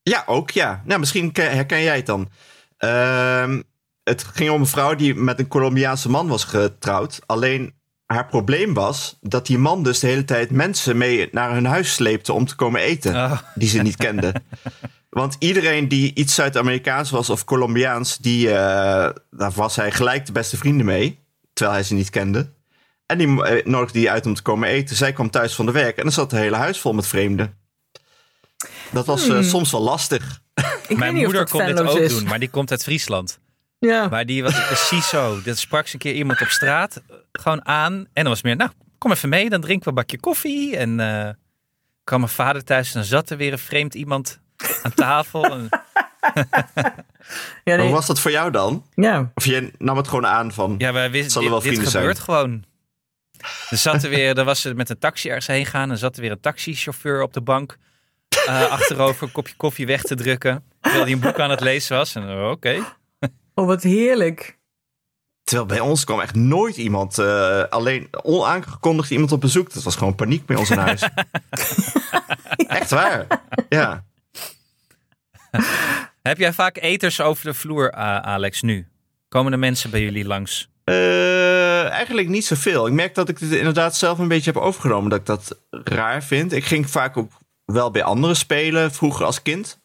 S3: Ja, ook ja. Nou, misschien ke- herken jij het dan. Ehm, het ging om een vrouw die met een Colombiaanse man was getrouwd. Alleen haar probleem was dat die man dus de hele tijd mensen mee naar hun huis sleepte om te komen eten.
S2: Oh.
S3: Die ze niet kende. Want iedereen die iets Zuid-Amerikaans was of Colombiaans, die, eh, daar was hij gelijk de beste vrienden mee. Terwijl hij ze niet kende. En die eh, nodigde die uit om te komen eten. Zij kwam thuis van de werk en dan zat het hele huis vol met vreemden. Dat was eh, soms wel lastig.
S1: Ik
S2: Mijn
S1: weet niet
S2: moeder
S1: of dat
S2: kon dit
S1: fanloos
S2: ook
S1: is.
S2: doen, maar die komt uit Friesland.
S1: Ja.
S2: Maar die was precies zo. Dat sprak ze een keer iemand op straat eh, gewoon aan. En dan was het meer, nou, kom even mee, dan drinken we een bakje koffie. En eh kwam mijn vader thuis en dan zat er weer een vreemd iemand aan tafel. En,
S1: Ja, nee.
S3: Hoe was dat voor jou dan?
S1: ja.
S3: Of je nam het gewoon aan van.
S2: ja, wij
S3: Het
S2: wisten,
S3: zullen
S2: dit,
S3: wel
S2: dit
S3: vrienden zijn.
S2: gebeurt gewoon. Er zat er weer, daar was ze met een taxi ergens heen gaan. En zat er weer een taxichauffeur op de bank. eh, achterover een kopje koffie weg te drukken. Terwijl hij een boek aan het lezen was. En eh, oké.
S1: Oh, wat heerlijk.
S3: Terwijl bij ons kwam echt nooit iemand, eh, alleen onaangekondigd iemand op bezoek. Dat was gewoon paniek bij ons in huis. echt waar. Ja.
S2: Heb jij vaak eters over de vloer, eh, Alex, nu? Komen er mensen bij jullie langs?
S3: Eh, eigenlijk niet zoveel. Ik merk dat ik dit inderdaad zelf een beetje heb overgenomen. Dat ik dat raar vind. Ik ging vaak ook wel bij anderen spelen, vroeger als kind.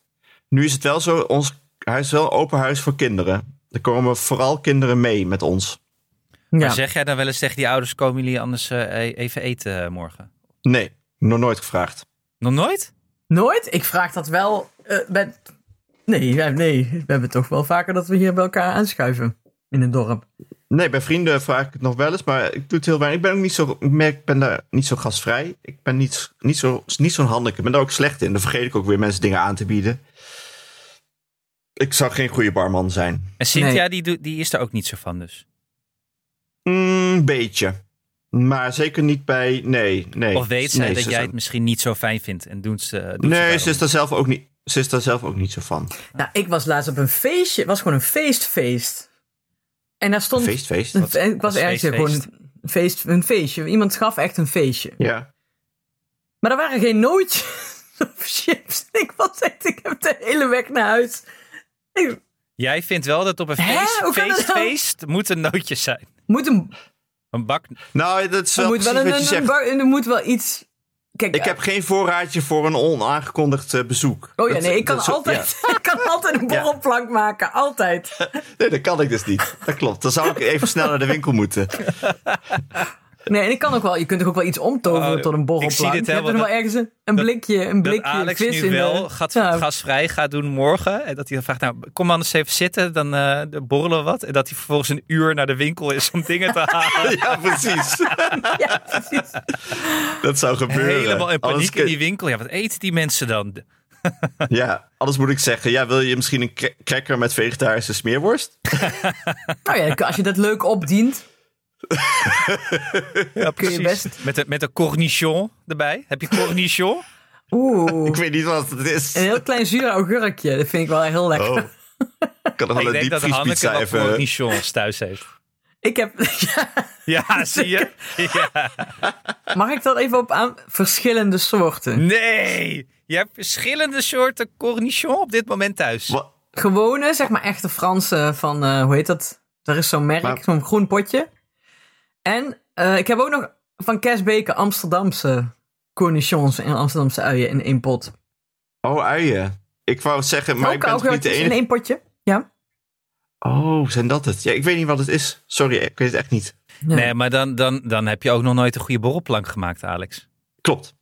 S3: Nu is het wel zo, ons huis is wel een open huis voor kinderen. Er komen vooral kinderen mee met ons.
S1: Ja.
S2: Maar zeg jij dan wel eens tegen die ouders, komen jullie anders eh, e- even eten eh, morgen?
S3: Nee, nog nooit gevraagd.
S2: Nog nooit?
S1: Nooit? Ik vraag dat wel. eh, bij- Nee, ja, nee, we hebben toch wel vaker dat we hier bij elkaar aanschuiven in het dorp.
S3: Nee, bij vrienden vraag ik het nog wel eens, maar ik doe het heel weinig. Ik ben ook niet zo, ik merk, ik ben daar niet zo gastvrij. Ik ben niet, niet zo'n niet zo handig. Ik ben daar ook slecht in. Dan vergeet ik ook weer mensen dingen aan te bieden. Ik zou geen goede barman zijn.
S2: En Cynthia, die, doet- die is er ook niet zo van dus.
S3: Een Mm, beetje. Maar zeker niet bij. Nee, nee.
S2: Of weet zij
S3: Nee,
S2: dat
S3: ze
S2: jij
S3: zijn-
S2: het misschien niet zo fijn vindt en doet ze... eh, Doet ze
S3: Nee,
S2: daarom
S3: ze is, daar zelf ook niet, ze is daar zelf ook niet zo van.
S1: Nou, ik was laatst op een feestje. Het was gewoon een feestfeest. En daar stond.
S3: Feest, feest.
S1: een- en ik was
S2: wat
S1: ergens
S2: is
S1: gewoon
S2: feestfeest?
S1: een, feest, een feestje. Iemand gaf echt een feestje.
S3: Ja.
S1: Maar er waren geen nootjes *laughs* of chips. Ik was echt, ik heb de hele weg naar huis. Ik,
S2: Jij vindt wel dat op een
S1: Hè?
S2: feest,
S1: Hoe kan dat
S2: feest,
S1: nou?
S2: feest moeten nootjes zijn.
S1: moet een,
S2: Een bak...
S3: Nou, dat is
S1: er
S3: wel
S1: moet
S3: precies
S1: wel een,
S3: wat je
S1: een,
S3: zegt.
S1: bar- er moet wel iets. Kijk,
S3: ik heb geen voorraadje voor een onaangekondigd eh, bezoek.
S1: Oh ja,
S3: Dat-
S1: nee, ik kan,
S3: dat is-
S1: altijd, *laughs* ik kan altijd een borrelplank maken. Altijd.
S3: ja. Nee, dat kan ik dus niet. Dat klopt. Dan zou ik even snel naar de winkel moeten. *laughs*
S1: Nee, en ik kan ook wel, je kunt toch ook wel iets omtoveren
S2: Oh,
S1: tot een borrelplank.
S2: ik zie dit
S1: je hebt
S2: helemaal,
S1: er wel
S2: dat-
S1: ergens een, een blikje, een blikje
S2: dat Alex
S1: vis
S2: nu
S1: in.
S2: wel
S1: de,
S2: gas-
S1: Ja.
S2: gasvrij gaat doen morgen. En dat hij dan vraagt, nou, kom anders even zitten, dan eh, dan borrelen we wat. En dat hij vervolgens een uur naar de winkel is om dingen te halen.
S3: Ja, precies.
S1: Ja, precies.
S3: Dat zou gebeuren.
S2: Helemaal
S3: Anders
S2: in paniek
S3: kun-
S2: in die winkel. Ja, wat eten die mensen dan?
S3: Ja, anders moet ik zeggen. Ja, wil je misschien een cra- cracker met vegetarische smeerworst?
S1: Nou ja, als je dat leuk opdient.
S2: Ja,
S1: je
S2: precies.
S1: best.
S2: Met, een, met een cornichon erbij. Heb je
S3: *laughs*
S2: cornichon?
S1: Oeh, Eh,
S3: Ik weet niet wat het is.
S1: een heel klein zuur augurkje. Dat vind ik wel heel lekker.
S2: *laughs*
S3: Oh. Ik kan nog
S2: ik
S3: wel een
S2: denk dat Hanneke
S3: diepvriespizza
S2: wel
S3: even...
S2: cornichons thuis heeft.
S1: Ik heb... *laughs* Ja. *laughs*
S2: Ja, zie je? Ja.
S1: Mag ik dat even op aan? Verschillende soorten.
S2: Nee! Je hebt verschillende soorten cornichon op dit moment thuis.
S3: Wa-
S1: Gewone, zeg maar echte Franse van, eh, hoe heet dat? Er is zo'n merk,
S3: Maar-
S1: zo'n groen potje. En eh, ik heb ook nog van Kersbeke Amsterdamse cornichons en Amsterdamse uien in één pot.
S3: Oh, uien. Ik wou zeggen, maar
S1: ook
S3: ik ben toch niet de
S1: augurkjes in
S3: enige...
S1: één potje. Ja.
S3: Oh, zijn dat het? Ja, ik weet niet wat het is. Sorry, ik weet het echt niet.
S2: Nee, maar dan, dan, dan heb je ook nog nooit een goede borrelplank gemaakt, Alex.
S3: Klopt. *laughs*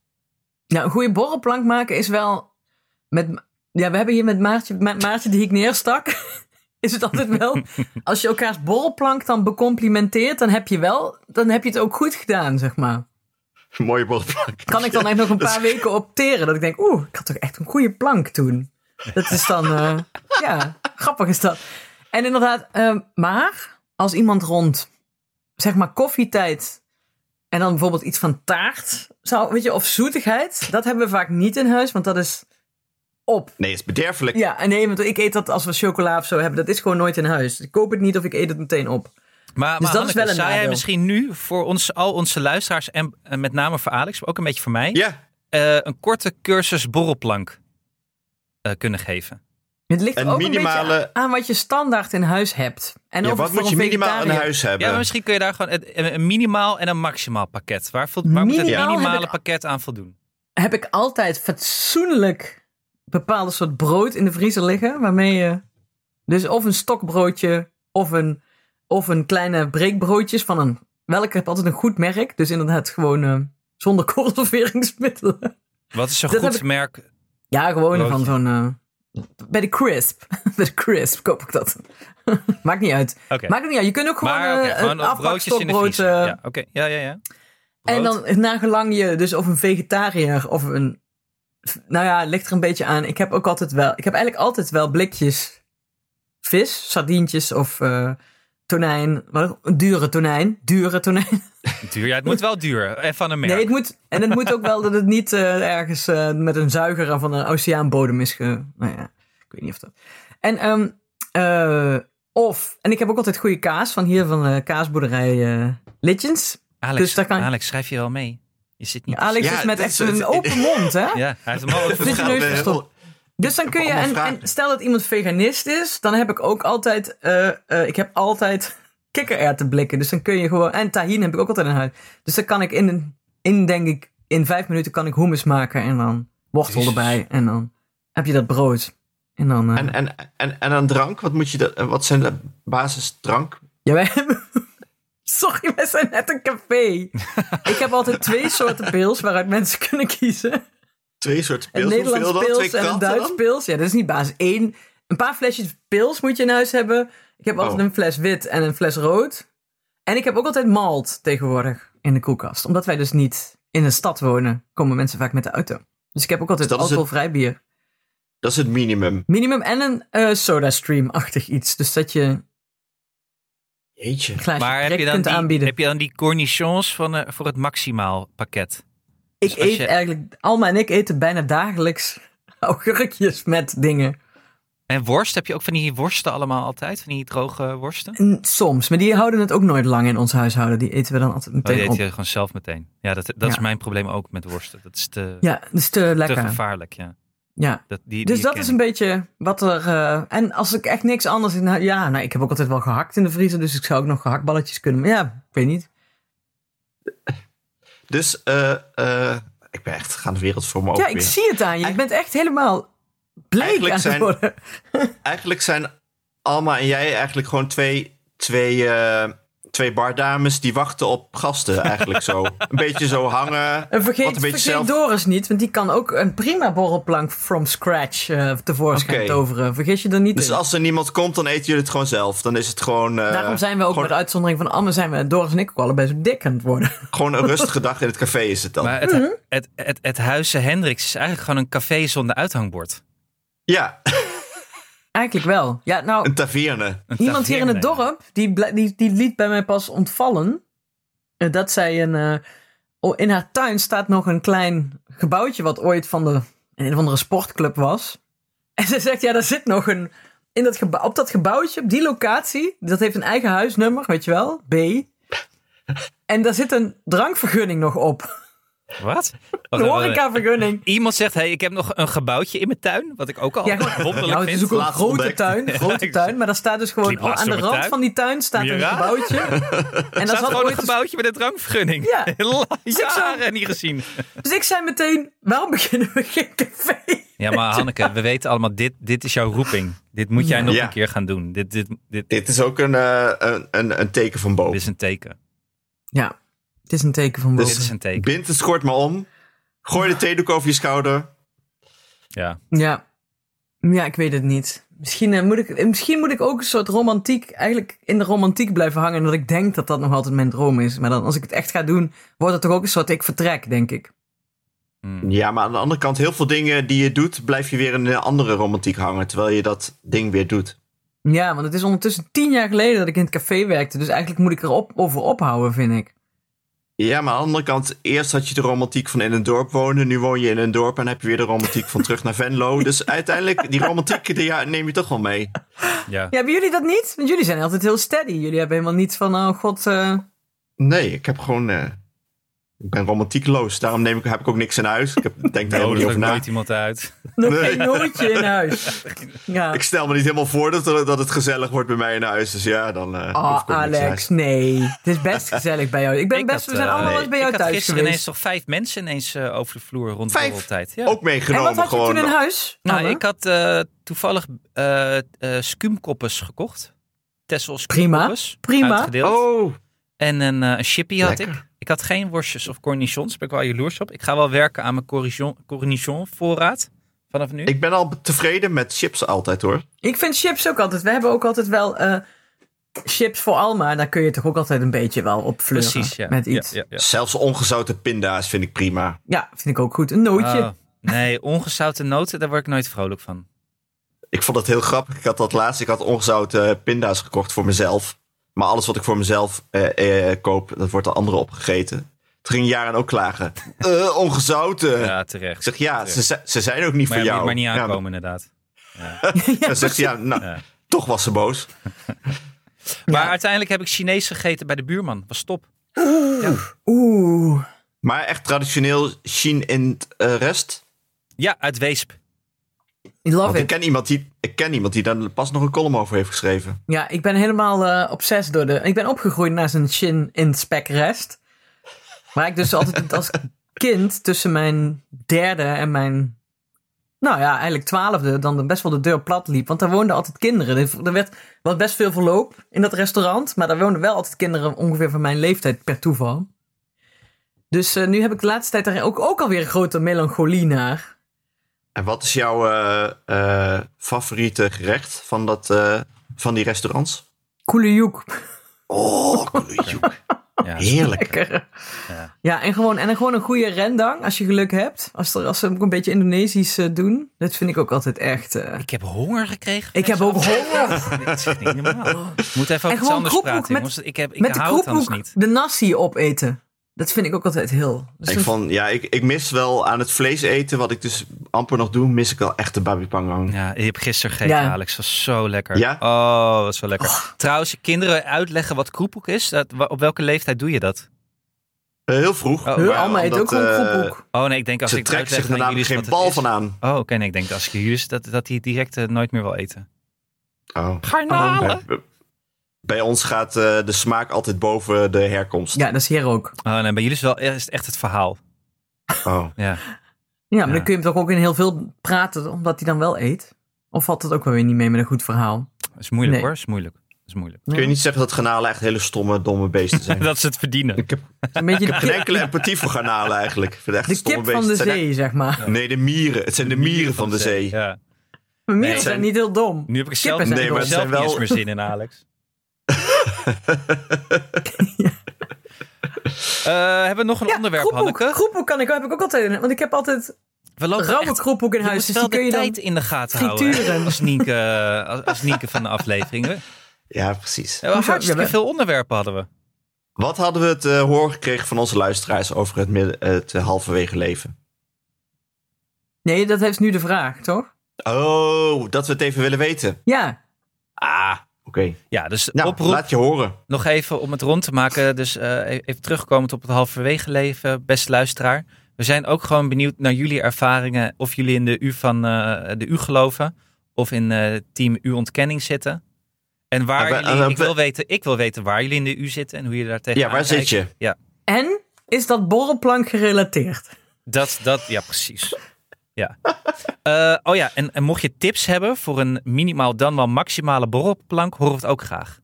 S1: Nou, een goede borrelplank maken is wel met... Ja, we hebben hier met Maartje, met Maartje die ik neerstak. *laughs* Is het altijd
S3: *laughs*
S1: wel, als je elkaars borrelplank dan becomplimenteert, dan heb je wel, dan heb je het ook goed gedaan, zeg maar.
S3: Mooie borrelplank.
S1: kan ik dan echt nog
S3: *laughs*
S1: een
S3: Dat is-
S1: paar weken opteren. Dat ik denk, oeh, ik had toch echt een goede plank toen. Dat is dan,
S3: *laughs*
S1: eh, ja, grappig is dat. En inderdaad, eh, maar als iemand rond, zeg maar koffietijd, en dan bijvoorbeeld iets van taart, zou, weet je, of zoetigheid, dat hebben we vaak niet in huis, want dat is op.
S3: Nee, het is bederfelijk.
S1: Ja, en nee, want ik eet dat als we chocola of zo hebben, dat is gewoon nooit in huis. Ik koop het niet of ik eet het meteen op.
S2: Maar,
S1: Dus
S2: maar
S1: dat is
S2: Hanneke,
S1: wel een
S2: zou jij
S1: nadeel.
S2: misschien nu voor ons, al onze luisteraars en, en met name voor Alex, maar ook een beetje voor mij,
S3: Ja,
S2: eh, een korte cursus borrelplank eh, kunnen geven?
S1: Het ligt
S3: Een
S1: ook een
S3: minimale-
S1: beetje aan aan wat je standaard in huis hebt. En
S3: ja
S1: of
S3: wat
S1: het voor
S3: moet je
S1: een
S3: minimaal in
S1: vegetariër-
S3: huis
S2: Ja,
S3: hebben?
S2: maar misschien kun je daar gewoon het- een, een minimaal en een maximaal pakket. Waar, vol- waar moet het
S1: Minimaal heb
S2: minimale
S1: ik-
S2: pakket aan voldoen?
S1: heb ik altijd fatsoenlijk bepaalde soort brood in de vriezer liggen. Waarmee je. Dus of een stokbroodje. Of een, of een kleine breekbroodjes van een. Welke heb altijd een goed merk. Dus inderdaad gewoon eh, zonder *laughs* conserveringsmiddelen.
S2: Wat is een
S1: Dat heb
S2: goed
S1: ik-
S2: merk?
S1: Ja, gewoon van
S2: Broodje.
S1: zo'n. eh, bij de crisp. *laughs* bij de crisp koop ik dat. *laughs* Maakt niet uit.
S2: Oké.
S1: Maakt het niet uit. Je kunt ook gewoon,
S2: Maar
S1: eh
S2: oké, gewoon
S1: een
S2: op broodjes in de
S1: afbakstokbrood,
S2: vriezer.
S1: eh,
S2: ja, oké. Ja, ja, ja.
S1: En
S2: Brood.
S1: dan nagelang je dus of een vegetariër of een... Nou ja, het ligt er een beetje aan. Ik heb ook altijd wel... Ik heb eigenlijk altijd wel blikjes vis, sardientjes of eh, tonijn. Wat, een dure tonijn. Dure tonijn. *laughs*
S2: Duur, ja, het moet wel duur. En van een merk.
S1: Nee, dus het moet... En het moet ook wel dat het niet eh, ergens eh, met een zuiger van een oceaanbodem is ge... Nou ja, ik weet niet of dat... En ehm, eh, of... En ik heb ook altijd goede kaas van hier van eh, kaasboerderij eh Litjens.
S2: Alex,
S1: dus daar kan-
S2: Alex, schrijf je wel mee. Je zit niet...
S1: Alex
S3: Ja,
S1: is met
S3: dat
S1: echt
S3: is het.
S1: een open mond,
S3: *laughs*
S1: hè?
S2: Ja, hij heeft hem
S1: *laughs*
S2: al
S1: Dit is neus
S3: eh,
S1: verstopt. Dus dan kun je,
S3: allemaal
S1: en,
S3: vragen.
S1: en stel dat iemand veganist is, dan heb ik ook altijd, eh, eh, ik heb altijd *laughs* kikkererwtenblikken. Dus dan kun je gewoon, en tahine heb ik ook altijd in huis. Dus dan kan ik in, een- in denk ik, in vijf minuten kan ik hummus maken en dan wortel erbij. En dan heb je dat brood. En dan, eh,
S3: En, en, en, en aan drank, wat, moet je dat, wat zijn de basisdrank?
S1: ja, wij hebben... *laughs* Sorry, wij zijn net een
S3: *laughs*
S1: café. ik heb altijd twee soorten pils waaruit mensen kunnen kiezen.
S3: Twee soorten
S1: Een
S3: pils.
S1: Nederlands
S3: Hoeveel dan? Twee
S1: pils en een
S3: kratten
S1: Duits
S3: dan?
S1: pils. Ja, dat is niet basis één. Een paar flesjes pils moet je in huis hebben. Ik heb altijd
S3: Oh.
S1: een fles wit en een fles rood. En ik heb ook altijd malt tegenwoordig in de koelkast. Omdat wij dus niet in een stad wonen, komen mensen vaak met de auto. Dus ik heb ook altijd
S3: Dus dat is het-
S1: alcoholvrij bier.
S3: Dat is het minimum.
S1: Minimum en een eh SodaStream-achtig iets. Dus dat je een
S3: Jeetje.
S1: glaasje
S2: Maar heb
S1: prik
S2: je, dan
S1: kunt
S2: die,
S1: aanbieden.
S2: heb je dan die cornichons van, eh, voor het maximaal pakket?
S1: Ik
S2: als
S1: eet
S2: je-
S1: eigenlijk... Alma en ik eten bijna dagelijks *laughs* augurkjes met dingen.
S2: En worst, heb je ook van die worsten allemaal altijd? Van die droge worsten?
S1: En soms, maar die houden het ook nooit lang in ons huishouden. Die eten we dan altijd
S2: Oh,
S1: meteen
S2: die
S1: op.
S2: eet je gewoon zelf meteen. Ja, dat, dat is
S1: Ja.
S2: mijn probleem ook met worsten. Dat is te,
S1: Ja, dat is te
S2: te
S1: lekker.
S2: gevaarlijk, ja.
S1: ja.
S2: Dat, die,
S1: Dus
S2: die
S1: dat
S2: ken
S1: is
S2: ik.
S1: een beetje wat er. eh, en als ik echt niks anders in. huis- Ja, nou, ik heb ook altijd wel gehakt in de vriezer. Dus ik zou ook nog gehaktballetjes kunnen. Maar ja, ik weet niet.
S3: Dus eh, eh, ik ben echt gaan de wereld voor me
S1: ja,
S3: open
S1: ik
S3: weer.
S1: zie het aan je. Je
S3: Eigen-
S1: bent echt helemaal bleek
S3: Eigenlijk
S1: aan het
S3: zijn-
S1: worden.
S3: Eigenlijk zijn Alma en jij eigenlijk gewoon twee, twee, eh, twee bardames die wachten op gasten eigenlijk
S1: *laughs*
S3: zo. Een beetje zo hangen.
S1: En vergeet,
S3: Wat een beetje
S1: vergeet
S3: zelf-
S1: Doris niet, want die kan ook een prima borrelplank from scratch eh, tevoorschijn
S3: Oké.
S1: toveren. Vergis je er niet
S3: Dus
S1: in.
S3: als er niemand komt, dan eten jullie het gewoon zelf. Dan is het gewoon, eh,
S1: Daarom zijn we ook,
S3: gewoon,
S1: met uitzondering van Amme, zijn we, Doris en ik ook allebei zo dik aan het worden. *laughs*
S3: gewoon een rustige dag in het café is het dan.
S2: Maar het,
S1: Mhm.
S2: het, het, het, Huizen Hendricks is eigenlijk gewoon een café zonder uithangbord.
S3: Ja, *laughs*
S1: Eigenlijk wel. Ja, nou,
S3: een taverne.
S2: Een
S1: Iemand hier in het
S2: taverne.
S1: dorp, die, bl- die, die liet bij mij pas ontvallen. eh, Dat zij een. eh, oh, in haar tuin staat nog een klein gebouwtje. wat ooit van de. een of andere sportclub was. En ze zegt: ja, daar zit nog een. In dat gebou- op dat gebouwtje, op die locatie. dat heeft een eigen huisnummer, weet je wel? B. En daar zit een drankvergunning nog op.
S2: Wat?
S1: Een horecavergunning.
S2: Iemand zegt, hey, ik heb nog een gebouwtje in mijn tuin. Wat ik ook al
S1: Ja,
S2: Oh, *laughs* wonderlijk
S1: Nou, het is
S2: vind.
S1: ook een
S3: Laat
S1: grote
S3: ontdekt.
S1: tuin,
S2: *laughs*
S1: grote
S2: ik-
S1: tuin, maar daar staat dus
S2: liep
S1: gewoon aan
S2: laatst
S1: de
S2: door mijn
S1: rand
S2: tuin.
S1: van die tuin staat een
S2: Ja.
S1: gebouwtje.
S2: *laughs*
S1: En daar
S2: Er
S1: zat
S2: staat gewoon
S1: ooit
S2: een
S1: een
S2: gebouwtje met een drankvergunning. *laughs*
S1: Ja.
S2: Heel lang-
S1: ik zo-
S2: Jaren niet gezien.
S1: Dus ik zei meteen, waarom *laughs* beginnen we geen café?
S2: Ja,
S1: *laughs*
S2: maar Hanneke, we weten allemaal, dit, dit is jouw roeping. Dit moet jij nog
S3: Ja.
S2: een keer gaan doen. Dit, dit, dit,
S3: Dit is ook een, eh, een, een, een teken van
S2: dit
S3: boven.
S2: is een teken.
S1: Ja, het is een teken van boven.
S2: Dit is een teken,
S3: Bind het schort maar om. Gooi de theedoek over je schouder.
S2: ja.
S1: Ja. ja, ik weet het niet. Misschien, eh, moet ik, eh, misschien moet ik ook een soort romantiek, eigenlijk in de romantiek blijven hangen. Omdat ik denk dat dat nog altijd mijn droom is. Maar dan als ik het echt ga doen, wordt het toch ook een soort ik vertrek, denk ik.
S2: Hmm.
S3: Ja, maar aan de andere kant, heel veel dingen die je doet, blijf je weer in een andere romantiek hangen. Terwijl je dat ding weer doet.
S1: Ja, want het is ondertussen tien jaar geleden dat ik in het café werkte. Dus eigenlijk moet ik er op, over ophouden, vind ik.
S3: Ja, maar aan de andere kant, eerst had je de romantiek van in een dorp wonen. Nu woon je in een dorp en heb je weer de romantiek van terug naar
S1: *laughs*
S3: Venlo. Dus uiteindelijk, die romantiek die, ja, neem je toch wel mee.
S2: Ja.
S1: Ja, hebben jullie dat niet? Want jullie zijn altijd heel steady. Jullie hebben helemaal niets van, oh god, eh,
S3: Nee, ik heb gewoon. eh, Ik ben romantiekloos, daarom neem ik, heb ik ook niks in huis. Ik heb,
S1: *laughs*
S3: denk daar
S2: Oh,
S3: helemaal niet
S2: er
S3: over na.
S2: nooit iemand uit.
S1: *laughs* Nog
S3: Nee.
S1: geen nootje in
S3: *laughs*
S1: huis. Ja.
S3: Ik stel me niet helemaal voor dat, dat het gezellig wordt bij mij in huis. Dus ja, dan. eh, hoef
S1: Ah,
S3: ik ook niks in
S1: Alex,
S3: huis.
S1: nee. Het is best gezellig bij jou. Ik ben
S2: Ik
S1: best,
S2: had,
S1: we zijn
S2: eh,
S1: allemaal
S3: nee.
S1: eens bij jou
S2: Ik had
S1: thuis
S2: gisteren ineens
S1: geweest. Oh,
S2: toch vijf mensen ineens eh, over de vloer rond de
S3: Vijf?
S2: borreltijd. Ja.
S3: Ook
S1: En
S3: meegenomen
S1: wat had je
S3: gewoon.
S1: toen in huis?
S2: Nou,
S1: Anne?
S2: ik had eh, toevallig eh eh, skuumkoppes gekoppes gekocht. Tessel skuumkoppes.
S1: prima.
S2: uitgedeeld.
S3: Oh,
S2: En een, eh, een chippy had
S3: Lekker.
S2: ik. Ik had geen worstjes of cornichons. Daar ben ik wel jaloers op. Ik ga wel werken aan mijn cornichon, cornichon voorraad vanaf nu.
S3: ik ben al tevreden met chips altijd hoor.
S1: Ik vind chips ook altijd. We hebben ook altijd wel eh, chips voor Alma. Daar kun je toch ook altijd een beetje wel op fleuren.
S2: Precies, ja.
S1: Met iets. Ja,
S2: Ja, ja, ja.
S3: Zelfs ongezouten pinda's vind ik prima.
S1: vind ik ook goed. Een nootje.
S2: Ah, nee, ongezouten noten, daar word ik nooit vrolijk van.
S3: Ik vond dat heel grappig. Ik had dat laatst, ik had ongezouten eh, pinda's gekocht voor mezelf. Maar alles wat ik voor mezelf eh, eh, koop, dat wordt door anderen opgegeten. Toen ging Jaren ook
S2: *laughs*
S3: klagen. Eh, ongezouten.
S2: Ja,
S3: Ik
S2: terecht.
S3: zeg, ja,
S2: Terecht.
S3: ze, zi- ze zijn ook niet
S2: maar,
S3: voor
S2: ja,
S3: jou.
S2: maar niet
S3: Ja,
S2: aankomen inderdaad.
S3: *laughs* Dan zegt ze, ja, nou,
S2: Ja.
S3: toch was ze boos.
S2: Maar uiteindelijk heb ik Chinees gegeten bij de buurman. Was top.
S1: Oeh.
S3: Maar echt traditioneel Chien in het eh, rest.
S2: Ja, uit Weesp.
S1: I love
S3: Want ik
S1: it.
S3: ken, iemand die, ik ken iemand die daar pas nog een column over heeft geschreven.
S1: Ja, ik ben helemaal eh obsessed door de... Ik ben opgegroeid naast een chin in spekrest. Waar ik dus altijd als kind tussen mijn derde en mijn... Nou ja, eigenlijk twaalfde, dan best wel de deur plat liep. Want daar woonden altijd kinderen. Er- Er werd wat best veel verloop in dat restaurant. Maar daar woonden wel altijd kinderen ongeveer van mijn leeftijd per toeval. Dus eh, nu heb ik de laatste tijd daar ook, ook alweer een grote melancholie naar.
S3: En wat is jouw eh, eh, favoriete gerecht van, dat, eh, van die restaurants?
S1: Koelejoek.
S3: Oh, koeljoek.
S1: Oh,
S2: Ja.
S3: Heerlijk.
S1: Lekker.
S2: Ja.
S1: Ja, en, gewoon, en dan gewoon een goede rendang als je geluk hebt. Als, er, als ze ook een beetje Indonesisch eh, doen. Dat vind ik ook altijd echt. eh,
S2: Ik heb honger gekregen.
S1: ik heb ook honger.
S2: Dit is echt
S1: *laughs*
S2: niet normaal. Ik moet
S1: En
S2: even over iets
S1: gewoon
S2: anders
S1: kroephoek
S2: praten,
S1: met-
S2: jongens. Ik, heb, ik
S1: *laughs* Met de
S2: hou het anders
S1: kroephoek
S2: niet.
S1: de nasi opeten. Dat vind ik ook altijd heel. Dus dat is
S3: Ik,
S1: een-
S3: vond, ja, ik, ik mis wel aan het vlees eten, wat ik dus amper nog doe, mis ik wel echt de babi pangang.
S2: Ja, ik heb gisteren gegeten,
S1: Ja.
S2: Alex. Dat was zo lekker.
S3: Ja?
S2: Oh, dat is wel lekker. Trouwens, kinderen uitleggen wat kroephoek is. Dat, wa- op welke leeftijd doe je dat?
S3: Eh, heel vroeg.
S2: Oh,
S1: Huh,
S3: maar
S1: Alma eet
S3: omdat,
S1: ook gewoon
S3: eh,
S1: kroephoek.
S2: Oh nee, ik denk als
S3: Ze
S2: ik het
S3: trekken
S2: uitleg
S3: zich er
S2: dan
S3: namelijk
S2: jullie
S3: geen bal van aan.
S2: Oh, oké. nee, ik denk als ik jullie is, dat, dat die het direct eh, nooit meer wil eten.
S3: Oh.
S2: Garnalen?
S3: Ja, b- Bij ons gaat eh, de smaak altijd boven de herkomst.
S1: Ja, dat is hier ook.
S2: Oh nee, bij jullie is, wel, is het echt het verhaal.
S3: Oh.
S2: Ja.
S1: Ja, maar
S2: Ja.
S1: dan kun je hem toch ook in heel veel praten, omdat hij dan wel eet. Of valt dat ook wel weer niet mee met een goed verhaal?
S2: Dat is moeilijk
S1: Nee.
S2: hoor, dat is moeilijk. Dat is moeilijk.
S3: Kun je niet zeggen dat garnalen echt hele stomme, domme beesten
S1: *laughs*
S3: zijn?
S2: Dat is het verdienen.
S3: Ik heb
S1: Een beetje de
S3: geen
S1: kip,
S3: enkele empathie voor garnalen eigenlijk. Ik vind het echt
S1: de
S3: stomme
S1: kip van
S3: beesten.
S1: de
S3: Het zijn
S1: zee, zeg maar.
S3: echt- Nee, de mieren. Het zijn de mieren van de zee.
S2: Ja.
S1: Maar Mieren
S2: Nee,
S1: zijn
S3: zijn-
S1: niet heel dom.
S2: Nu heb ik er zelf,
S1: Kippen zijn
S2: ik heb
S3: dom.
S2: er zelf
S3: Nee, maar
S2: niet
S3: het
S2: eens meer zin in,
S1: *laughs*
S2: Alex. Eh, hebben we nog een
S1: Ja,
S2: onderwerp,
S1: kroephoek.
S2: Hanneke?
S1: Kroephoek kan ik, heb ik ook altijd. Want ik heb altijd
S2: We lopen
S1: rauwe
S2: echt-
S1: kroephoek in
S2: je
S1: huis.
S2: moet
S1: Dus
S2: wel
S1: die
S2: de
S1: kun je dan
S2: tijd in de gaten houden.
S1: frituren.
S2: Als Nienke, eh, als, als Nienke van de
S1: *laughs*
S2: afleveringen.
S3: Ja, precies.
S2: Ja,
S1: Hoezo?
S2: hartstikke
S1: Ja, we-
S2: veel onderwerpen hadden we.
S3: Wat hadden we het eh, horen gekregen van onze luisteraars over het, midden, het eh, halverwege leven?
S1: Nee, dat heeft nu de vraag, toch?
S3: Oh, dat we het even willen weten.
S1: Ja.
S3: Ah, oké.
S2: Ja, dus
S3: Nou,
S2: oproep
S3: laat je horen.
S2: nog even om het rond te maken. Dus eh, even terugkomend op het halverwege leven, beste luisteraar. We zijn ook gewoon benieuwd naar jullie ervaringen. Of jullie in de U van eh, de U geloven. Of in eh, team U ontkenning zitten. En waar
S3: Maar we-
S2: jullie,
S3: eh,
S2: ik,
S3: we-
S2: wil weten, ik wil weten waar jullie in de U zitten en hoe je daar tegen
S3: Ja, waar zit je?
S2: Ja,
S1: En is dat borrelplank gerelateerd?
S2: Dat, dat, ja, precies. Ja. Eh, oh ja, en, en mocht je tips hebben voor een minimaal dan wel maximale borrelplank, horen we het ook graag.